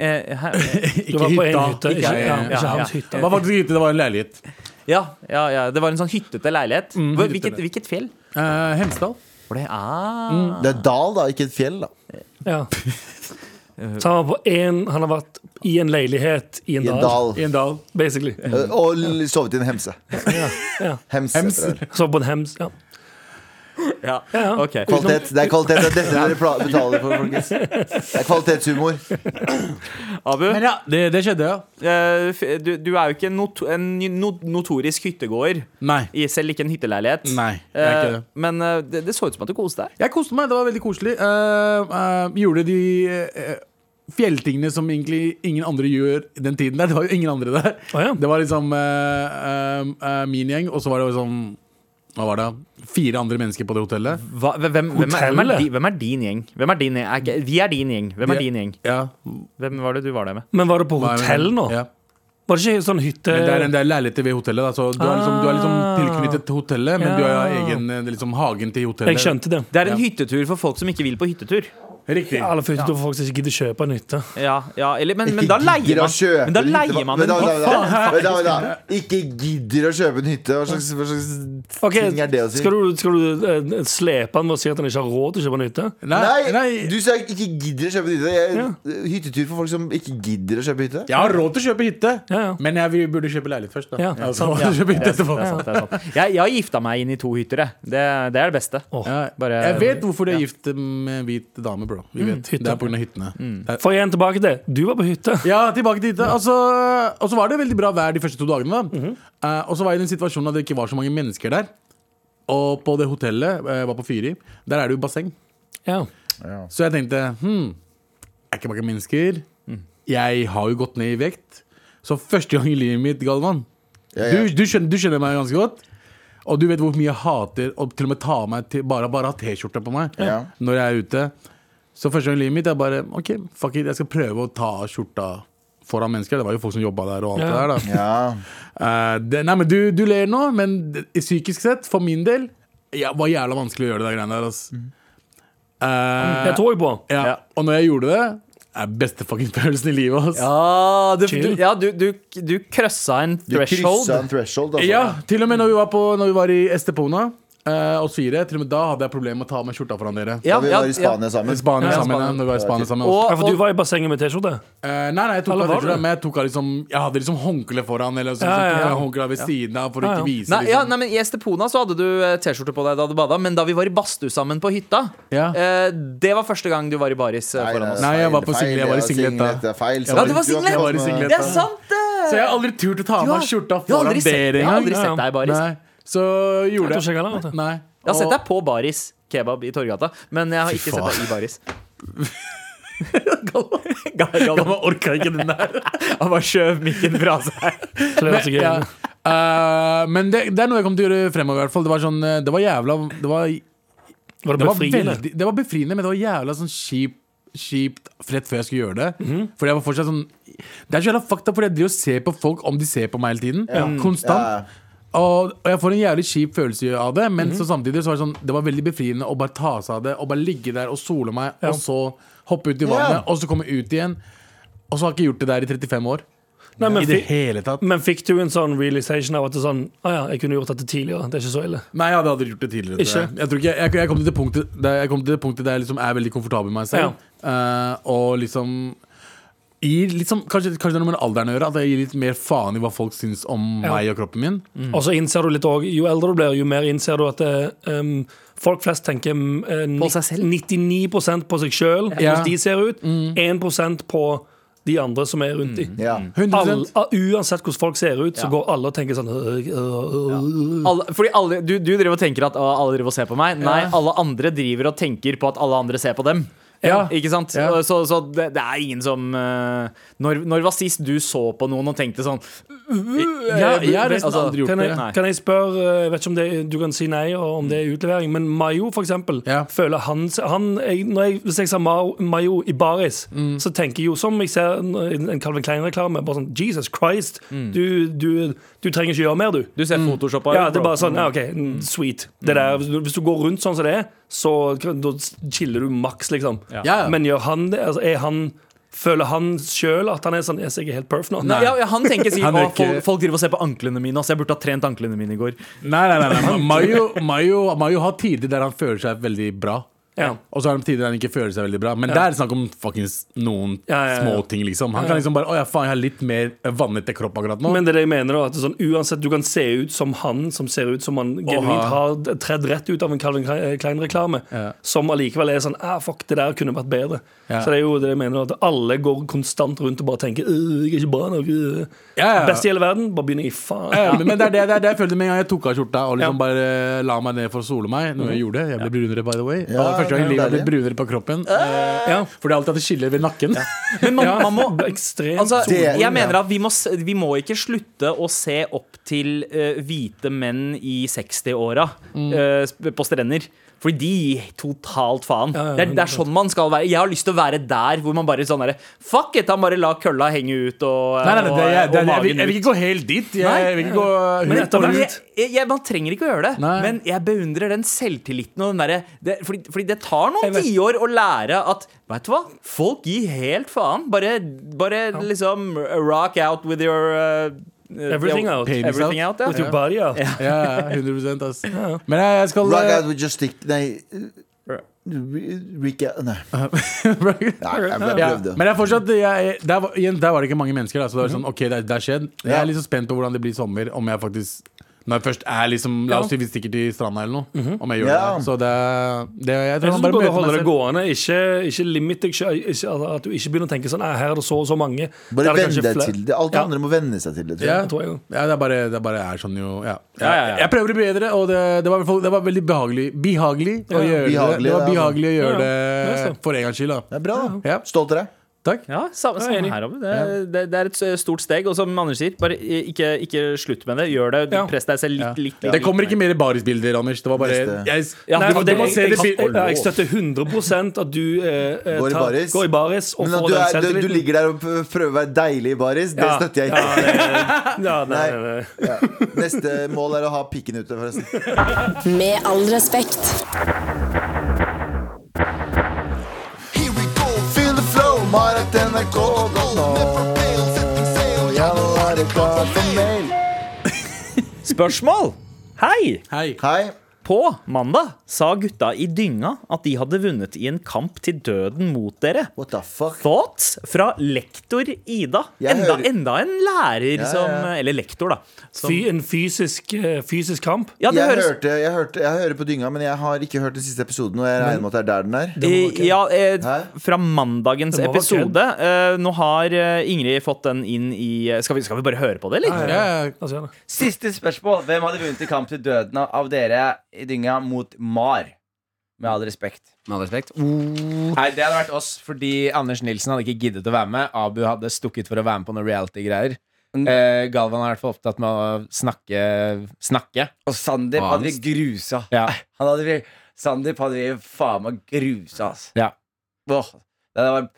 Eh, her, Ikke var på en hytta. hytte, Ikke- ikke- ja, ja, ja, ikke hans ja. hytte. Det var faktisk hytte, det var en leilighet. ja, ja, ja, det var en sånn hyttete leilighet. Mm. Hvor- hyttete. hvilket, hvilket fjell? Eh, Hemsedal. For det er Det er dal, da, ikke et fjell. da Ja. Så han, var på en, han har vært i en leilighet i en, I en dal, dal. I en dal. basically. Eh, Og l- sovet i en hemse. Ja. Hemse. Hems. tror jeg. Så på en hems. Ja. Ja, ok Kvalitet. Det er kvalitet. Det er dette dere pla- betaler for, folkens. Det er kvalitetshumor. Abu, Men ja, det, det skjedde, ja. eh, f- du, du er jo ikke not en no notorisk hyttegåer. Nei. I selv ikke en hytteleilighet. Nei, jeg er ikke Eh, det. Men eh, det, det så ut som at du koste deg. Jeg koste meg, det var veldig koselig. Eh, eh, gjorde de eh, fjelltingene som egentlig ingen andre gjør i den tiden der. Det var jo ingen andre der. Å ja. Det var liksom eh, eh, eh, min gjeng, og så var det liksom Hva var det? Fire andre mennesker på det hotellet. Hva, hvem, hvem, er, hvem, er, Hotellet? di- hvem er din gjeng? Hvem er din gjeng? Er ikke- vi er din gjeng. Hvem er Vi- din gjeng? Ja. Hvem var det du var der med? Men var det på hotell nå? Ja. Var det ikke sånn hytte... Men det er, det er leiligheter ved hotellet. Da. Så du, er liksom, du er liksom Ah. tilknyttet til hotellet, men du har Ja. egen eh, liksom, hagen til hotellet. Jeg skjønte det. Det er en hyttetur for folk som ikke vil på hyttetur. Riktig. Alle får hyttetur for folk som ikke gidder kjøpe en hytte. Ja, ja, eller, men, men Ikke da leier gidder å man kjøpe Men da en hytte. leier man Vent en da, vent da, hytte. vent da. Vent da, vent da. Ikke gidder å kjøpe en hytte. Hva slags, hva slags Ok, ting er det å si? Skal du, skal du eh, slepe han med å si at han ikke har råd til å kjøpe en hytte? Nei, Nei, nei, du sa ikke gidder å kjøpe en hytte. Jeg, hyttetur for folk som ikke gidder å kjøpe hytte. jeg har råd til å kjøpe hytte, Ja, ja. men jeg vil- burde kjøpe leilighet først. Da. Ja, altså, sant. kjøpe hytte etterpå. Det er sant, det er sant. Jeg, jeg har gifta meg inn i to hytter, jeg. Det, det er det beste. Ja, Bare- jeg vet hvorfor de er gift med en hvit dame, bro. Vi vet. hytta. det er pga. hyttene. Det er- For igjen tilbake til Du var på hytte. Ja, tilbake til hytta. Altså, og så var det veldig bra vær de første to dagene. Da. Eh, og så var jeg i den situasjonen at det ikke var så mange mennesker der. Og på det hotellet eh, jeg var på Fyri, der er det jo basseng. Ja. Så jeg tenkte hm, er ikke mange mennesker. Jeg har jo gått ned i vekt. Så første gang i livet mitt, Galvan Ja, ja. Du, du, skjønner, du skjønner meg ganske godt. Og du vet hvor mye jeg hater å til og med ta av meg til, bare, bare ha T-skjorte på meg Ja. når jeg er ute. Så første gang i livet mitt er bare OK, fuck it, jeg skal prøve å ta av skjorta foran mennesker. Det var jo folk som jobba der og alt Ja. det der, da. Ja. Eh, det, nei, men du, du ler nå, men det- psykisk sett, for min del, ja, var jævla vanskelig å gjøre det der greiene der, ass. Mm. Eh, Det tror jeg på. ja. Og når jeg gjorde det, er beste fucking følelsen i livet, ass. Ja, du, Chill. du, ja, du, du, du krøssa en Du threshold. kryssa en threshold, altså. Ja, til og med når vi var, på, når vi var i Estepona, uh, oss fire, til og med da hadde jeg problemer med å ta av meg skjorta foran dere. Da vi var i Spania I sammen. Spania Ja, sammen, Spania. ja, når vi var i Spania sammen. Og, Ja, for du og, var i bassenget med T-skjorte? Eh, nei, nei, jeg tok Eller av var t-skjorta, du? men jeg, tok av liksom, jeg hadde liksom håndkle foran, eller sånn, Ja, ja, ja. sånn håndkle ved siden av for å Ja, ja. ikke vise. nei, ja, liksom. nei, men I Estepona så hadde du eh, T-skjorte på deg da du bada, men da vi var i badstue sammen på hytta, Ja. eh, det var første gang du var i baris eh, Nei, foran oss. Nei, jeg var på feil, singlet, jeg var i feil, singlet da. det er Feil. Ja, det var singlet. Du Jeg var i singlet. Det er sant, det! Så jeg har aldri turt å ta av Du har- meg skjorta jeg har foran aldri sett- dere Jeg har aldri Ja, engang. ja. sett deg i baris. Nei, Så Jeg tror gjorde ikke jeg heller, vet du. Nei. Jeg har sett Og- deg på baris kebab i Torgata, men jeg har ikke sett deg i baris. *laughs* Galvan orka ikke den der. Han bare skjøv mikken fra seg. Så det var så gøy. Ja. Eh, men det, det er noe jeg kommer til å gjøre fremover. i hvert fall. Det var sånn, eh, det var jævla Det var, det Var det var, befriende? veldig, det var befriende, men det var jævla sånn kjip, kjipt rett før jeg skulle gjøre det. Mhm. Fordi jeg var fortsatt sånn Det er så jævla fakta, fordi jeg driver og ser på folk om de ser på meg hele tiden. Konstant. Og, og jeg får en jævlig kjip følelse av det, Mhm. men så samtidig så var det sånn Det var veldig befriende å bare ta seg av det og bare ligge der og sole meg, og så hoppe ut i vannet, og så komme ut igjen. Og så har jeg ikke gjort det der i 35 år. Nei, men, I det fikk, hele tatt. men fikk du en sånn realization av at det er sånn Å ja, jeg kunne gjort dette tidligere. Det er ikke så ille. Nei, jeg hadde aldri gjort det tidligere. tror jeg. Ikke? Jeg, tror ikke, jeg, jeg, kom til det punktet der jeg kom til det punktet der jeg liksom er veldig komfortabel med meg selv. Eh, og liksom, i, liksom kanskje, kanskje det er noe med den alderen å gjøre. At jeg gir litt mer faen i hva folk syns om Ja. meg og kroppen min. Mm. Og så innser du litt òg, jo eldre du blir, jo mer innser du at eh, um, folk flest tenker mm, eh, På seg selv. Mm. 99 på seg sjøl, Ja. hvordan de ser ut. 1 på de andre som er rundt dem. Ja. Mm. 100 uansett hvordan folk ser ut, så går alle og tenker sånn øh, øh, øh. Alle, fordi alle, du, du driver og tenker at «Å, alle driver og ser på meg. Nei, Ja. alle andre driver og tenker på at alle andre ser på dem. Ja. Ikke sant? Ja. Så, så det, det er ingen som eh, når, når var sist du så på noen og tenkte sånn Ja, jeg har nesten Altså, aldri gjort Eh, Kan det. jeg, Nei. kan jeg spørre eh, Jeg vet ikke om det, du kan si nei og om det er utlevering, men Mayo, for eksempel, Ja. føler han, han jeg, når jeg, Hvis jeg sa Mao- Mayo i baris, Mm. så tenker jeg jo som jeg ser en- en Calvin Klein-reklame, bare sånn Jesus Christ, Mm. du, du, du trenger ikke gjøre mer, du. Du ser photoshoppa Ja, ut, det er bro. bare sånn, ja, ok, mm, sweet det der, hvis, du, hvis du går rundt sånn som det er Så kan- da chiller du maks liksom Ja, ja. Men gjør han det, altså, er han Føler han selv at han er sånn Yes, jeg er helt perf nå Nei, ja, ja, han tenker sikkert Han er «Å, folk, ikke- folk driver og ser på anklene mine. Altså, jeg burde ha trent anklene mine i går. Nei, nei, nei, nei. Mayo, Mayo, Mayo har tider der han føler seg veldig bra. Ja. Og så er det tider han ikke føler seg veldig bra. Men Ja. der er det snakk om fuckings noen Ja, ja, ja. små ting, liksom. Han kan liksom bare Å ja, faen, jeg har litt mer vannete kropp akkurat nå. Men det er det jeg mener da, at det er sånn, uansett, du kan se ut som han som ser ut som han genuint har tredd rett ut av en Calvin Klein-reklame, Ja. som allikevel er sånn ah, fuck, det der kunne vært bedre. Ja. Så det er jo det jeg mener, da, at alle går konstant rundt og bare tenker «Øh, jeg er ikke bra nok. øh». Ja, ja. Best i hele verden, bare begynner i faen. Ja, ja, men *laughs* men det er det, det, er det jeg følte med en gang jeg tok av skjorta og liksom Ja. bare eh, la meg ned for å sole meg. Noe jeg gjorde. Jeg ble brunere, by the way. Ja, Og første gang i det er livet jeg ble deilig. Ah! brunere på kroppen. eh, Ja. Fordi jeg alltid hadde skiller ved nakken. Men man, man må Ekstremt Altså, Det- jeg mener at vi må, s- vi må ikke slutte å se opp til eh, hvite menn i 60-åra Mm. eh, sp- på strender. Fordi de gir totalt faen. Ja, ja, det, er, det er sånn man skal være. Jeg har lyst til å være der hvor man bare sånn derre Fuck it! Han bare la kølla henge ut og, eh, Nei, nei, nei, det, jeg, og- det, og jeg, vil- magen jeg vil ut. ikke gå helt dit. Jeg, Nei. jeg vil ikke gå Men etter Men hvert jeg, jeg, jeg, man trenger ikke å gjøre det, Nei. men jeg beundrer den selvtilliten og den derre det, fordi, fordi det tar Jeg noen vet- tiår å lære at Vet du hva? Folk gir helt faen. Bare, bare liksom rock out with your uh, Everything out. Penis Everything out. out, With your ja. body, ja. Ja, ja, 100 ass. Men jeg, jeg skal Rock eh, out *laughs* with your stick Nei Rika Nei, Nei jeg, jeg ja, prøvde men jeg er fortsatt jeg, der, var, igjen, der var det ikke mange mennesker. Da, så det var sånn, ok, det, er- det er skjedd Jeg Ja. er litt så spent på hvordan det blir i sommer. Om jeg faktisk Når jeg først er liksom La oss si vi stikker til stranda eller noe. Om jeg gjør Ja. det. Så det, det jeg Jeg synes tror man sånn du bare burde møter holde meg det selv. gående. Ikke, ikke limit deg selv. Ikke, at du ikke begynner å tenke sånn «Ah, Her er det så og så mange. Der Bare er det kanskje vende deg flere». til det Alt det Ja. andre må vende seg til det tror Ja, jeg. det tror jeg jo. ja det, er bare, det er bare er sånn jo ja. Ja, ja, ja. Jeg prøver å bli bedre, og det, det, var, i hvert fall- det var veldig behagelig Behagelig å gjøre det. Behagelig, Det var ja. altså. behagelig å Ja, gjøre ja. Det er det så. for en gangs skyld. Da. Det er bra da Ja. Stolt av deg Takk. Ja, Jeg er samme, samme enig. her, Abu. Det, er- det, det er et s- stort steg. Og som Anders sier, bare eh, ikke, ikke slutt med det. Gjør det. Ja. Press deg selv Ja. litt. litt, litt Det kommer ikke mer barisbilder, Anders. Det var bare Neste. jeg, Ja, Nei, du, for må- det, du må se jeg, det jeg, bil- ja, jeg støtter 100 at du eh, eh, Går i tar- baris. går i baris og Men at får du, den er, du, du selvtilliten. ligger der og p- prøver å være deilig i baris Det Ja. støtter jeg ikke Ja, nei, Nei. nei, nei. ja. Neste mål er å ha pikken ute forresten Med all respekt. Here we go, feel the flow, Marit NRK.no. Never pale, setting sail, ja nå er det klart for mail. Spørsmål! Hei! Hei. Hei På mandag sa gutta i dynga at de hadde vunnet i en kamp til døden mot dere. What the fuck Thoughts fra lektor Ida. Jeg Enda, hører- enda en lærer ja. som Eller lektor, da. Som, Fy, en fysisk, eh, fysisk kamp. ja, det jeg, høres hørte, jeg, hørte, jeg hører på dynga, men jeg har ikke hørt den siste episoden. Og jeg regner med at det er der den er. må være Eh, Ja, eh, Hæ? fra mandagens Det må være episode. Eh, nå har eh, Ingrid fått den inn i eh, skal, vi, skal vi bare høre på det, eller? Ja, ja. La oss gjøre det. Siste spørsmål. Hvem hadde vunnet i kamp til døden av- av dere i dynga mot Mar? Med all respekt. Med all respekt. Nei, det hadde vært oss, fordi Anders Nilsen hadde ikke giddet å være med. Abu hadde stukket for å være med på noen reality-greier. Mm. Eh, Galvan er i hvert fall opptatt med å snakke. snakke. Og Sandeep hadde vi Anst. grusa. Ja. Han hadde vi, Sandeep hadde vi faen meg grusa, ass. Ja. Åh, det var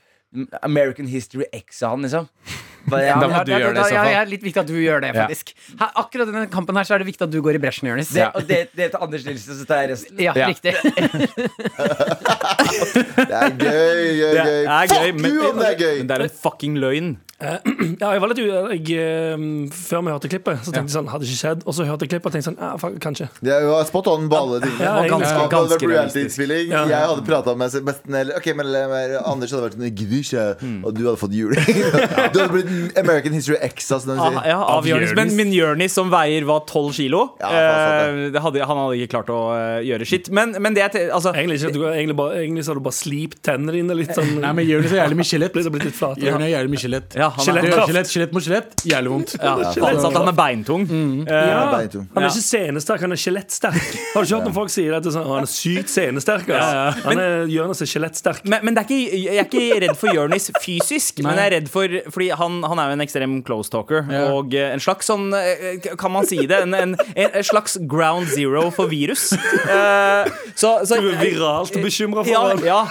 American History X av han, liksom. *laughs* Bare, ja, Da men- må du gjøre det i så fall. Ja, ja, litt viktig at du gjør det, Ja. faktisk. Her, akkurat denne kampen her så er det viktig at du går i bresjen, Jonis. det, og det, det til Anders Nilsen, så tar jeg resten. Ja, Ja. riktig. Det er gøy, gøy, *laughs* Det gøy. er gøy, Fuck men- you, om det er Men gøy! det er en fucking løgn. Ja, jeg var litt u... Jeg, eh, før vi hørte klippet, så tenkte jeg sånn Hadde ikke skjedd. Og så hørte jeg klippet og tenkte sånn ah, fuck, Kanskje. Det er jo spot on på alle ting. Ja, Det egentlig. hadde vært ganske reality-innspilling. Ja. Jeg hadde prata med seg best eller- Ok, men eller, Anders hadde vært sånn Gidder Hmm. ikke. Og du hadde fått juling. *laughs* Du hadde blitt American History X, altså. når du Ah, sier. ja, av Av Jonis. Men Jonis. min Jonis som veier hva, 12 kilo? Ja, faen, Eh, det hadde, han hadde ikke klart å eh, gjøre skitt. Men, men det jeg te- altså, Egentlig, ikke, du, egentlig, bare, egentlig så hadde du bare slipt tennene dine litt sånn. Nei, men Jonis er jævlig mye skjelett. Blitt blitt litt flat. Jørn er jævlig mye skjelett. Ja, han er- skjelett, Skjelettkraft. skjelett, skjelett mot skjelett. Jævlig vondt. ja, altså at han er beintung. Eh, Ja, Ja. beintung. Han er Ja. ikke senesterk, han er skjelettsterk. Har du ikke hørt når folk sier at det er sånn, «Å, han er sykt senesterk? ass». Han er Jonas er skjelettsterk. Men, men det er ikke, jeg er ikke redd for Jonis fysisk, men jeg er redd for Fordi han, han er jo en ekstrem close talker. Ja. Og eh, en slags sånn eh, Kan man si det? En, en, en en slags ground zero for virus. Eh, så, så, Du er viralt bekymret for ja, han. ja.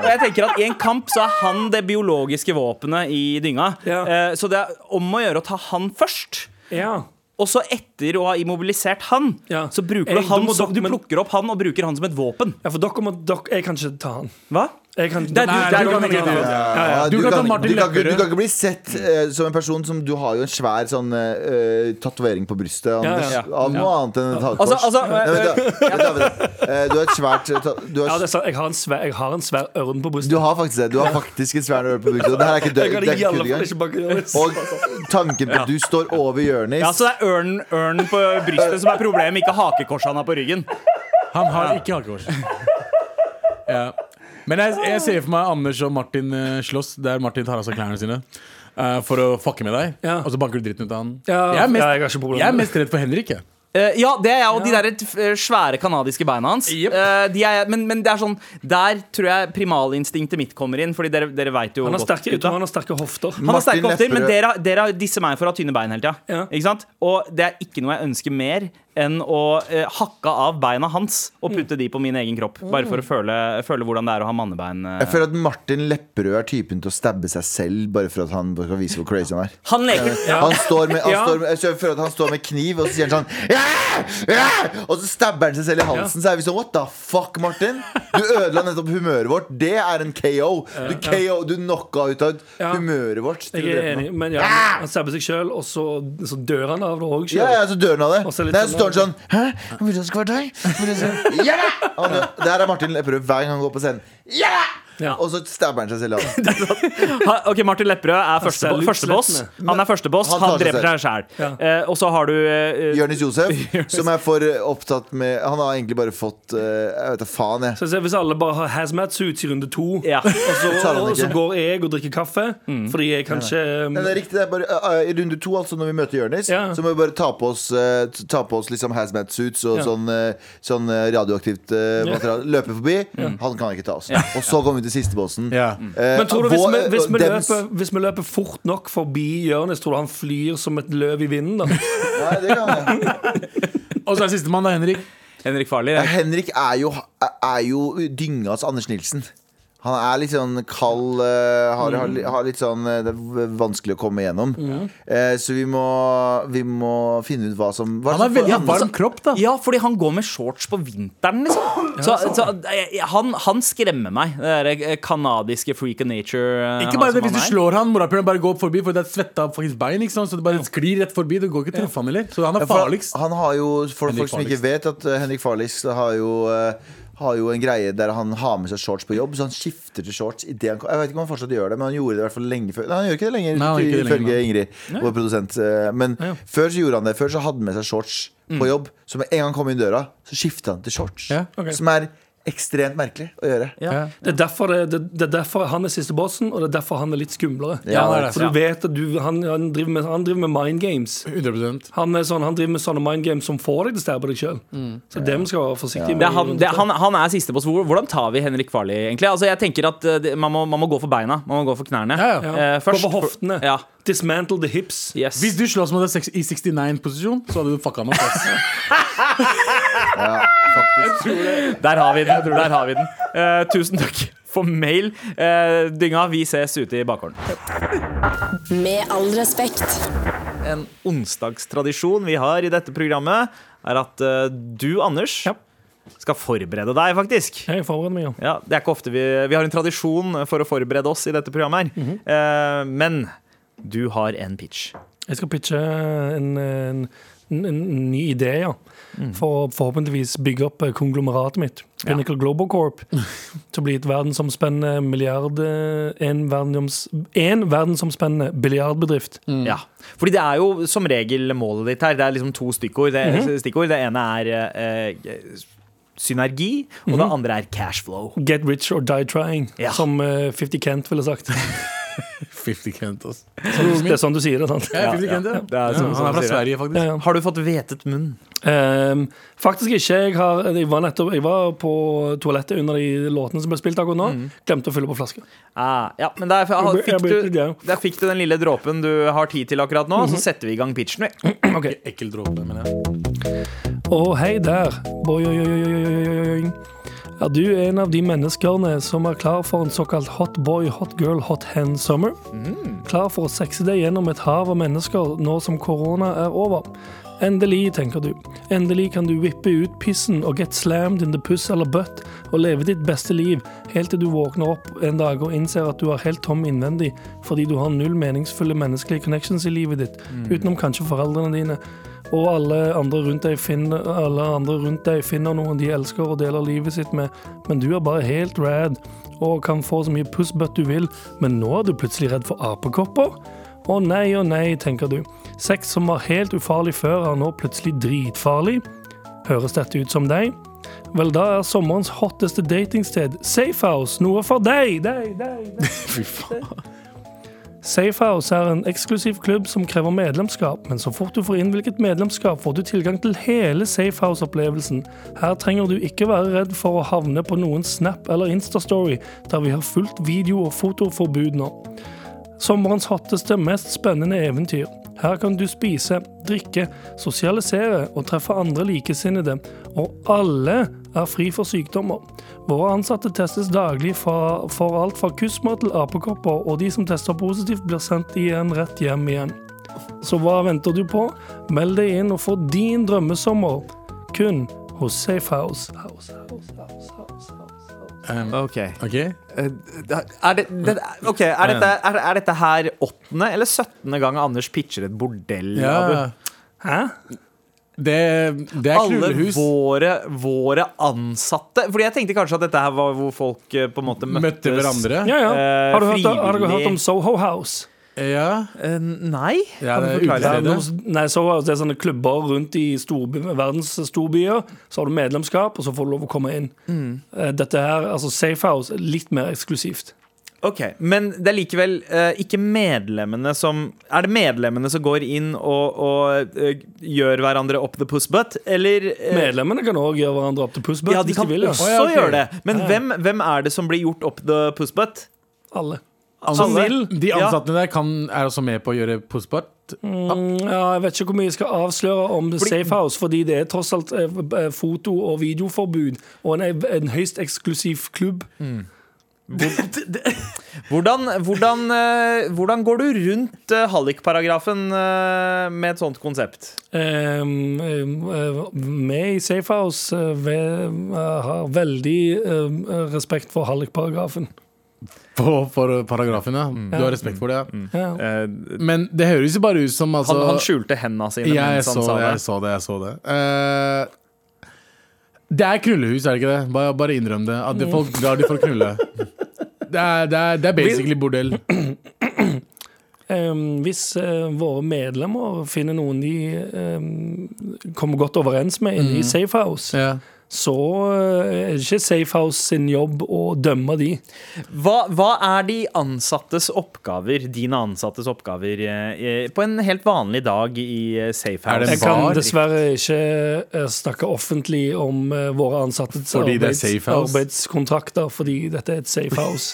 Og jeg tenker at i en kamp så er han det biologiske våpenet i dynga. Ja. Eh, så det er om å gjøre å ta han først. Ja. Og så etter å ha immobilisert han, Ja. så bruker Jeg- du han du må- som, Du men- plukker opp han og bruker han som et våpen. Ja, for dere må dere, Jeg kan ikke ta han. Hva? Jeg kan, Det er du- Nei, det er dere du kan kan ikke ikke ta han. Ja, Du kan ta Martin Ah, du, kan, ikke- Lepperød. du kan ikke bli sett eh, som en person som Du har jo en svær sånn eh, tatovering på brystet Anders, ja. av noe annet enn et Altså, hakkors. altså Nei, eh, vent da, vent da, vent da. Eh, Du har et svært eh, ta- du Ja, har, det er sant. Jeg har en svær, jeg har en svær ørn på brystet. du har faktisk det. Du har faktisk et svært øre på brystet. og Det her er ikke dø- Jeg kan det er i ikke alle kødd fall engang. ikke banke det over. Og tanken på at du står over Jonis ja, altså- så det er ørnen ørnen på brystet som er problemet, ikke hakekorset han har på ryggen. Han har ikke hakekors. Ja. Men jeg, jeg ser for meg Anders og Martin eh, slåss, der Martin tar av seg klærne sine. eh, for å fucke med deg, Ja. og så banker du dritten ut av han. Ja, jeg, er mest, ja, jeg har ikke problemer jeg er med det. mest redd for Henrik. Jeg. Eh, ja, det er jeg, og de der eh, svære kanadiske beina hans. Jep. Eh, de er, men, men det er sånn Der tror jeg primalinstinktet mitt kommer inn, Fordi dere, dere vet jo Han har godt, sterke, jeg gutta. tror han har sterke hofter. Han har Martin sterke hofter, men Lepperød. dere, dere disser meg for å ha tynne bein hele tida. Ja. Ikke sant? Og det er ikke noe jeg ønsker mer enn å eh, hakke av beina hans og putte de på min egen kropp. Bare for å føle, føle hvordan det er å ha mannebein. eh. Jeg føler at Martin Lepperød er typen til å stabbe seg selv bare for at han skal vise hvor crazy han er. Han leker Han står med, han Ja. står med, jeg føler at han står med kniv, og så sier han sånn «Ja! Ja!» Og så stabber han seg selv i halsen. Så er vi sånn What the fuck, Martin? Du ødela nettopp humøret vårt. Det er en KO. Du, KO, du knocka ut av Ja. humøret vårt. til å Jeg er drepe noen. enig, men ja, han stabber seg sjøl, og så, så dør han av det òg. Ja, ja, så dør han av det. Og så litt Nei, så står han sånn sånn- Hæ? Jeg Vil du det skal være deg? Jeg Vil det skal... Ja! Han, det her er Martin Lepperød hver gang han går på scenen. Ja! Ja. Og så stabber han seg *laughs* selv i halsen. Ha- Ok, Martin Lepperød er første, ser ut første boss. slettende. Han er første boss, Han han, tar seg dreper seg sjæl. og så har du eh, Jonis *laughs* Josef, som er for eh, opptatt med Han har egentlig bare fått eh, Jeg vet da faen, jeg. Så jeg ser, Hvis alle bare har hazmat suits i runde to, ja. og, så, Tar han og så ikke. går jeg og drikker kaffe fordi jeg kan ikke um, Nei, det er riktig, det er bare eh, eh, I runde to, altså, når vi møter Jonis, Ja. så må vi bare ta på oss eh, t- Ta på oss liksom hazmat suits og Ja. sånn, eh, sånn eh, radioaktivt eh, Ja. materiale. Løpe forbi. Han kan ikke ta oss. Og så kommer vi til siste bossen. Eh, Men tror du hvis vår- vi, hvis, vi dems- løper, hvis vi løper fort nok forbi Jonis, tror du han flyr som et løv i vinden? da? Nei, det kan jeg. Og så er sistemann da, Henrik. Henrik Farley. Ja, Eh, Henrik er jo, er jo dyngas Anders Nilsen. Han er litt sånn kald, eh, har, har, Mm. li- har litt sånn eh, Det er vanskelig å komme gjennom. Eh, Så vi må, vi må finne ut hva som hva Han har som- veldig Ja, varm kropp, da. Ja, fordi han går med shorts på vinteren, liksom. Så, så eh, han, han skremmer meg. Det derre kanadiske freak of nature. eh, Ikke han bare det, som Hvis du han er. slår han, morapuleren bare går forbi, for det er svetta faktisk bein. ikke sant? Så det bare sklir rett forbi. Du går ikke til å treffe han heller. Så han er for farligst. Han har jo, for Henrik folk som ikke Farligst. vet, at eh, Henrik Farlis har jo eh, har jo en greie der han har med seg shorts på jobb, så han skifter til shorts. i det han, jeg vet ikke om han fortsatt gjør det, men han gjorde det i hvert fall lenge før. Nei, han gjør ikke det lenger, Nei, han gjør ikke det lenger, ifølge Ingrid, vår produsent. Eh, Men før så gjorde han det. Før så hadde han med seg shorts på jobb, så med en gang han kom inn døra, så skifta han til shorts. Mm. Ja, ok. Som er ekstremt merkelig å gjøre. Ja. Det er, derfor det, det, det er derfor han er siste bossen, og det er derfor han er litt skumlere. Ja, det er det. For du vet at du, han, han, driver med, han driver med mind games. 100 Han, er sånn, han driver med sånne mind games som får deg til å stabbe deg sjøl. Så det vi skal være forsiktige Mm. Det med. er han, i runde det, er to. han, han er siste på spor. Hvordan tar vi Henrik Farley, egentlig? Altså, jeg tenker at eh, det, man, må, man må gå for beina. Man må gå for knærne. Ja, ja. Ja. Eh, først. Gå for hoftene. Ja. Dismantle the hips. Yes. Hvis du slåss med deg i 69-posisjon, så hadde du fucka han opp. *laughs* ass. Der har vi den. Der har vi den. Eh, tusen takk for mail. Eh, dynga, vi ses ute i bakgården. Med all respekt. En onsdagstradisjon vi har i dette programmet, er at eh, du, Anders, Ja. skal forberede deg, faktisk. Jeg forbereder meg, ja. Ja, det er ikke ofte vi, vi har en tradisjon for å forberede oss i dette programmet her. Eh, men du har en pitch. Jeg skal pitche en, en, en, en ny idé, ja. Mm. For å forhåpentligvis bygge opp eh, konglomeratet mitt. Pinnacle Global *laughs* Corp. Til å bli et verdensomspennende milliard... eh, En, verdens, en verdensomspennende biljardbedrift. Ja. Fordi det er jo som regel målet ditt her. Det er liksom to stikkord. Det, stikkord. det ene er eh, synergi, og det andre er cashflow. Get rich or die trying, Ja. som eh, 50 Kent ville sagt. 50 Kent, ass. Det er sånn du sier det, sant? Ja, 50 Kent, ja. er Ja, sånn- han sånn er sier fra det. Sverige, faktisk. Ja, ja. Har du fått hvetet munn? Ehm, faktisk ikke. Jeg, har, jeg, var nettopp, jeg var på toalettet under de låtene som ble spilt akkurat nå. Glemte å fylle på flaska. *clears throat* Ah, ja, men der Jeg ble- fikk, jeg Mhm. ble- du, ja. der fikk du den lille dråpen du har tid til akkurat nå, så setter vi i gang pitchen. vi. Ok. Ekkel dråpe, men ja. Å, hei der. Oi, oi, oi, oi, oi, oi, oi, oi. Er du en av de menneskene som er klar for en såkalt hot boy, hot girl, hot hand summer? Klar for å sexe deg gjennom et hav av mennesker nå som korona er over? Endelig, tenker du. Endelig kan du vippe ut pissen og get slammed in the puss eller butt og leve ditt beste liv, helt til du våkner opp en dag og innser at du er helt tom innvendig fordi du har null meningsfulle menneskelige connections i livet ditt, utenom kanskje foreldrene dine. Og alle andre rundt deg finner, alle andre rundt deg finner noen de elsker og deler livet sitt med, men du er bare helt rad og kan få så mye pussbutt du vil, men nå er du plutselig redd for apekopper? Å nei, å nei, tenker du. Sex som var helt ufarlig før, er nå plutselig dritfarlig. Høres dette ut som deg? Vel, da er sommerens hotteste datingsted Safehouse noe for deg! deg, deg, deg. Safehouse er en eksklusiv klubb som krever medlemskap, men så fort du får innvilget medlemskap, får du tilgang til hele Safehouse-opplevelsen. Her trenger du ikke være redd for å havne på noen Snap eller Instastory, der vi har fullt video- og fotoforbud nå. Sommerens hotteste, mest spennende eventyr. Her kan du spise, drikke, sosialisere og treffe andre likesinnede. Og alle er fri for sykdommer. Våre ansatte testes daglig fra, for alt fra kussmat til apekopper, og de som tester positivt, blir sendt igjen rett hjem igjen. Så hva venter du på? Meld deg inn og få din drømmesommer. Kun hos Safehouse. House, house, house, house, house, house. Ok. Ehm, Ok? Eh, Er, det, det, ok, er, dette, er, er dette her åttende eller syttende gang Anders pitcher et bordell? Abu? Ja. Hæ? Det, det er Alle krullehus. våre, våre ansatte. Fordi jeg tenkte kanskje at dette her var hvor folk eh, på en måte møttes. Møtte hverandre. Ja, ja. Eh, Har du hørt, har dere frivillig. hørt om Soho House? Ja. Eh, nei? Ja, Kan du det er forklare? utestedet. Det er noen- Nei, så altså, det er sånne klubber rundt i storby, verdens storbyer. Så har du medlemskap, og så får du lov å komme inn. Mm. Eh, Dette her, altså Safehouse, er litt mer eksklusivt. Ok, Men det er likevel eh, ikke medlemmene som Er det medlemmene som går inn og, og eh, gjør hverandre up the puss butt, eller eh, Medlemmene kan òg gjøre hverandre opp til pussbutt Ja, de hvis de kan vil. Ja. også Å, ja, ok. gjøre det. Men hvem, hvem er det som blir gjort up the puss butt? *laughs* Alle. Ansatte- Alle? De ansatte der kan, er også med på å gjøre postbart. Mm, ja, jeg vet ikke hvor mye jeg skal avsløre om Safehouse, fordi det er tross alt eh, eh, foto- og videoforbud, og en, en høyst eksklusiv klubb. Hvordan, hvordan, eh, hvordan går du rundt eh, hallikparagrafen eh, med et sånt konsept? Um, med i Safehouse eh, ve- eh, har veldig eh, respekt for hallikparagrafen. På, for paragrafen, ja. Mm. Du har respekt for det. ja. Ja. Men det høres jo bare ut som altså, han, han skjulte hendene sine Ja, jeg mens så han sa det, det. jeg så det. Jeg så det. Eh, det er krullehus, er det ikke det? Bare, bare innrøm det. At Mm. det folk drar dit for å knulle. *laughs* Det er, det er, det er basically bordell. Ehm, hvis eh, våre medlemmer finner noen de ehm, kommer godt overens med inne i Safehouse, Mm. Ja. så eh, er det ikke Safehouse sin jobb å dømme de. Hva, hva er de ansattes oppgaver, dine ansattes oppgaver, eh, eh, på en helt vanlig dag i eh, Er Safehouse? det Jeg kan bar? dessverre ikke eh, snakke offentlig om eh, våre ansattes Fordi det er arbeids, Safehouse? arbeidskontrakter, fordi dette er et *laughs* Safehouse.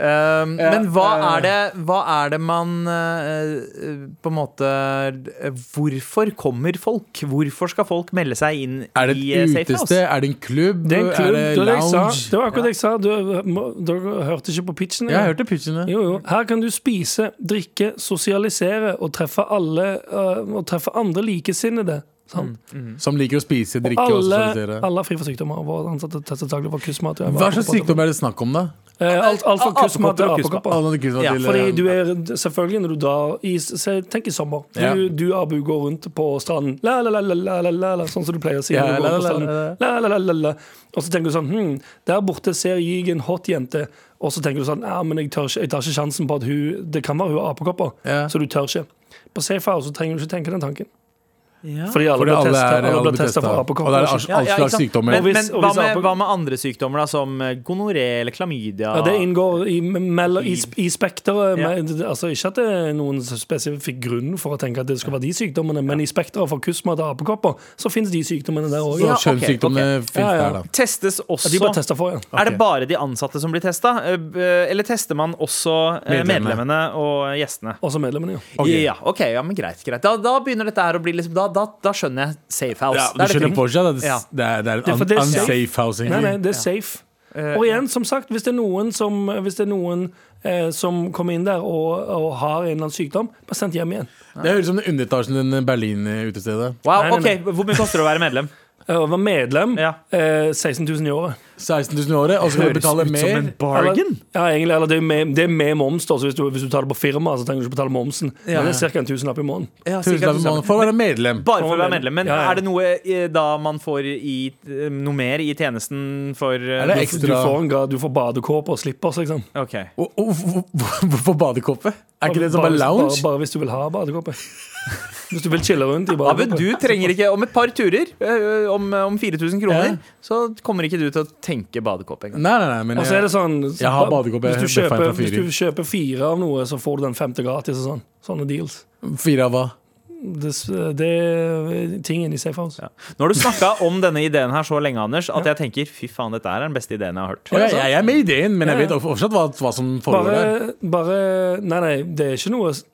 Um, men hva er det, hva er det man eh, på en måte eh, Hvorfor kommer folk? Hvorfor skal folk melde seg inn Er det i eh, et utested? Safehouse? Er det en klubb? Det er en klubb. Er det, det var det jeg sa. lounge? det var akkurat det jeg sa. Du, eh, må, dere hørte ikke på pitchen? Jeg eller? har hørt det pitchene. Jo, jo. Her kan du spise, drikke, sosialisere og treffe alle øh, Og treffe andre likesinnede. Sant? Som liker å spise, Mm. drikke og Alle, sosialisere. alle er fri for sykdommer. og Våre ansatte tester daglig for kussmat. Hva slags sykdom er det snakk om, da? Eh, alt, alt fra kussmat til Apekopper og apekopper. Alle de kussene Ja, til, Fordi eh, du er selvfølgelig når du drar i se, Tenk i sommer. Du, Ja. du Abu, går rundt på stranden. La, la, la, la, la, la, la, la, sånn som du pleier å si. Ja, når du går la, rundt på la, stranden. la, La, la, la, la, la. Og så tenker du sånn hm, Der borte ser jeg en hot jente. Og så tenker du sånn Ja, men jeg, tør ikke, jeg tar ikke sjansen på at hun Det kan være hun har apekopper. Ja. Så du tør ikke. På Safehouse så trenger du ikke tenke den tanken. Ja. Fordi alle Fordi blir alle testet- er alle blir alle testet testet. for Og det er apekopper. all- all Ja, ikke slags sant? sykdommer. Men, Og men hvis- og hva, hvis med, ape- hva med andre sykdommer, da? Som eh, gonoré eller klamydia? Ja, det inngår i, mellom, i, sp- i spekteret. Ja. men- Altså, ikke at det er noen spesifikk grunn for å tenke at det skal være de sykdommene, men i spekteret for kussmat og apekopper så finnes de sykdommene der òg. Så Ja, ok, kjønnssykdommene finnes Ja, ja. der, da. Testes også De bare tester for, ja. Er det bare de ansatte som blir testa, eller tester man også eh, Medlemmene. medlemmene og gjestene? Også medlemmene, ja. Ja, ok, ja, men greit, greit. Da, da begynner dette her å bli liksom Da, da, da skjønner jeg safe house. Ja, Det er du det skjønner ting. fortsatt at det, Ja. det, er, det er Det er for en det er un- unsafe housing. Nei, nei, det er safe. Eh, Og igjen, som sagt, hvis det er noen som, hvis det er noen, eh, som kommer inn der og, og har en eller annen sykdom, bare sendt hjem igjen. Det høres ut som den underetasjen eh, i den Berlin-utestedet. Wow, Nei, nei, ok, Hvor mye koster det å være medlem? *laughs* Eh, Og være medlem Ja. eh, 16 000 i året. 16 000 i året, og så skal du betale mer. Eller, ja, egentlig, eller det, er med, det er med moms, da. Så hvis du, hvis du tar det på firma, så trenger du ikke betale momsen. Ja. Men det er ca. en tusenlapp i måneden. Ja, Tusen takk for måneden for å være medlem. Bare for å være medlem. Men Ja, ja. er det noe eh, da man får i, eh, noe mer i tjenesten for eh, Er det Du, du ekstra får en grad, du får badekåpe og slippers, liksom. Ok. Og- og- og- Hvorfor badekåpe? Er ikke det som bare lounge? Bare, bare hvis du vil ha badekåpe. Hvis du vil chille rundt i Abid, badekåpe. du trenger ikke Om et par turer, eh, om, om 4000 kroner, Ja. så kommer ikke du til å tenke badekåpe engang. Nei, nei, nei, men Og så er det jeg, sånn Jeg har badekåpe, hvis, du jeg er fan kjøper, fra hvis Fyring. du kjøper fire av noe, så får du den femte gratis og sånn. Sånne deals. fire av hva? Det, det er ting inni safe house. Nå har du snakka om denne ideen her så lenge, Anders, at jeg tenker fy faen, dette er den beste ideen jeg har hørt. Å, jeg, jeg er med i ideen, men jeg Ja, vet ja. fortsatt hva, hva som foregår der. Bare, bare Nei, nei, det er ikke noe s-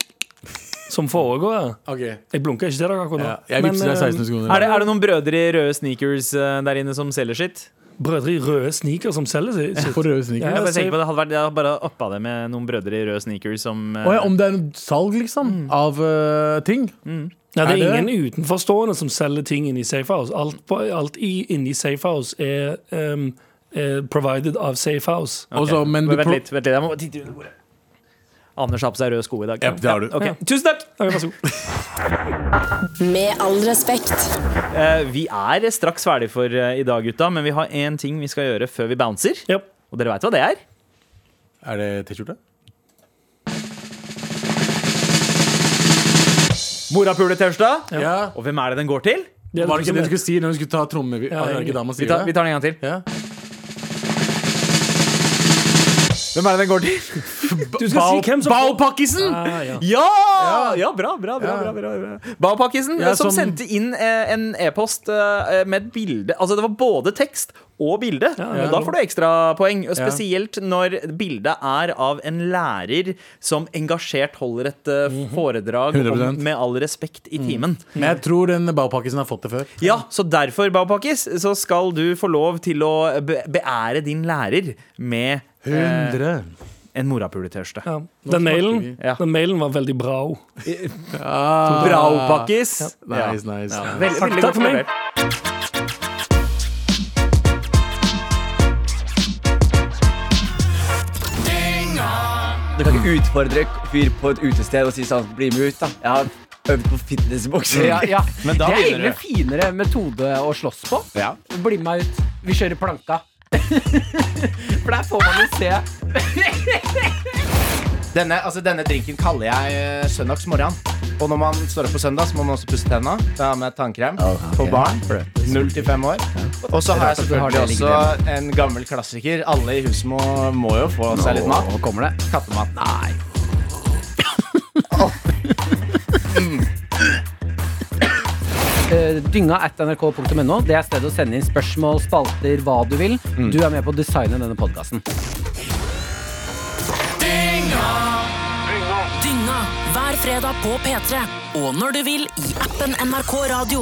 som foregår her. Ok. Jeg blunker ikke til dere akkurat nå. Ja, jeg Men, vippser deg eh, 16 000 kroner. Er det, er det noen brødre i røde sneakers eh, der inne som selger sitt? Brødre i røde sneakers som selger sitt. For røde sneakers. Ja, Jeg bare så- tenker på det hadde vært Jeg hadde bare oppa det med noen brødre i røde sneakers som eh, Å ja, om det er noe salg, liksom, Mm. av eh, ting? Nei, det er Er det? ingen utenforstående som selger ting inni safe house. Alt, på, alt i, inni safe house er um, eh, provided av safe house. Ok. Også, men du Vent pro- litt, vent litt. Jeg må titte under bordet. Anders har på seg røde sko i dag. Ja, det har du. ok. Tusen takk! Ok, *laughs* vær så god. Med all respekt. Eh, vi er straks ferdig for eh, i dag, gutta, men vi har én ting vi skal gjøre før vi bouncer. Ja. Og dere veit hva det er? Er det T-skjorte? Morapule-tirsdag. Ja. Og hvem er liksom det den går til? Det er Var det ikke som det du er- skulle si når du skulle ta tromme... Ja, er det ikke da man Vi sier tar, vi det? tar den en gang til. Ja. Hvem er det den går til? Du skal *laughs* si hvem som Baupakkisen! Ah, ja. Ja! ja! Bra, bra, bra. bra, bra, bra. Mm. Baupakkisen, Ja, som, som- sendte inn eh, en e-post eh, med et bilde. Altså, det var både tekst og bilde. ja. Og da får du ekstrapoeng. Spesielt når bildet er av en lærer som engasjert holder et eh, Mhm. foredrag om 100%. med all respekt i timen. Men jeg tror den baupakkisen har fått det før. Ja, så derfor, Baupakkis, så skal du få lov til å be beære din lærer med eh, en morapuletørste. Ja. Den, mailen, snakker vi. Ja. den mailen var veldig bra. også. Ah. Braupakkis. Ja. Nice, nice. Veldig, veldig Takk godt for meg. levert. Du kan ikke utfordre en fyr på et utested og si sånn Bli med ut, da. Jeg har øvd på fitnessboksing. Ja, ja. Men da det er egentlig begynner en finere metode å slåss på. Ja. Bli med meg ut. Vi kjører planka. *laughs* For der får man jo se. Denne, altså, denne drinken kaller jeg eh, søndagsmorgen. Og når man står opp på søndag, så må man også pusse tenna. Da har jeg med tannkrem på barn. Null til fem år. Og så har jeg selvfølgelig også en gammel klassiker. Alle i huset må, må jo få seg litt mat. Nå kommer det. Kattemat. Nei. Eh, dynga at nrk.no. Det er stedet å sende inn spørsmål, spalter, hva du vil. Du er med på å designe denne podkasten. Dynga hver fredag på P3. Og når du vil i appen NRK Radio.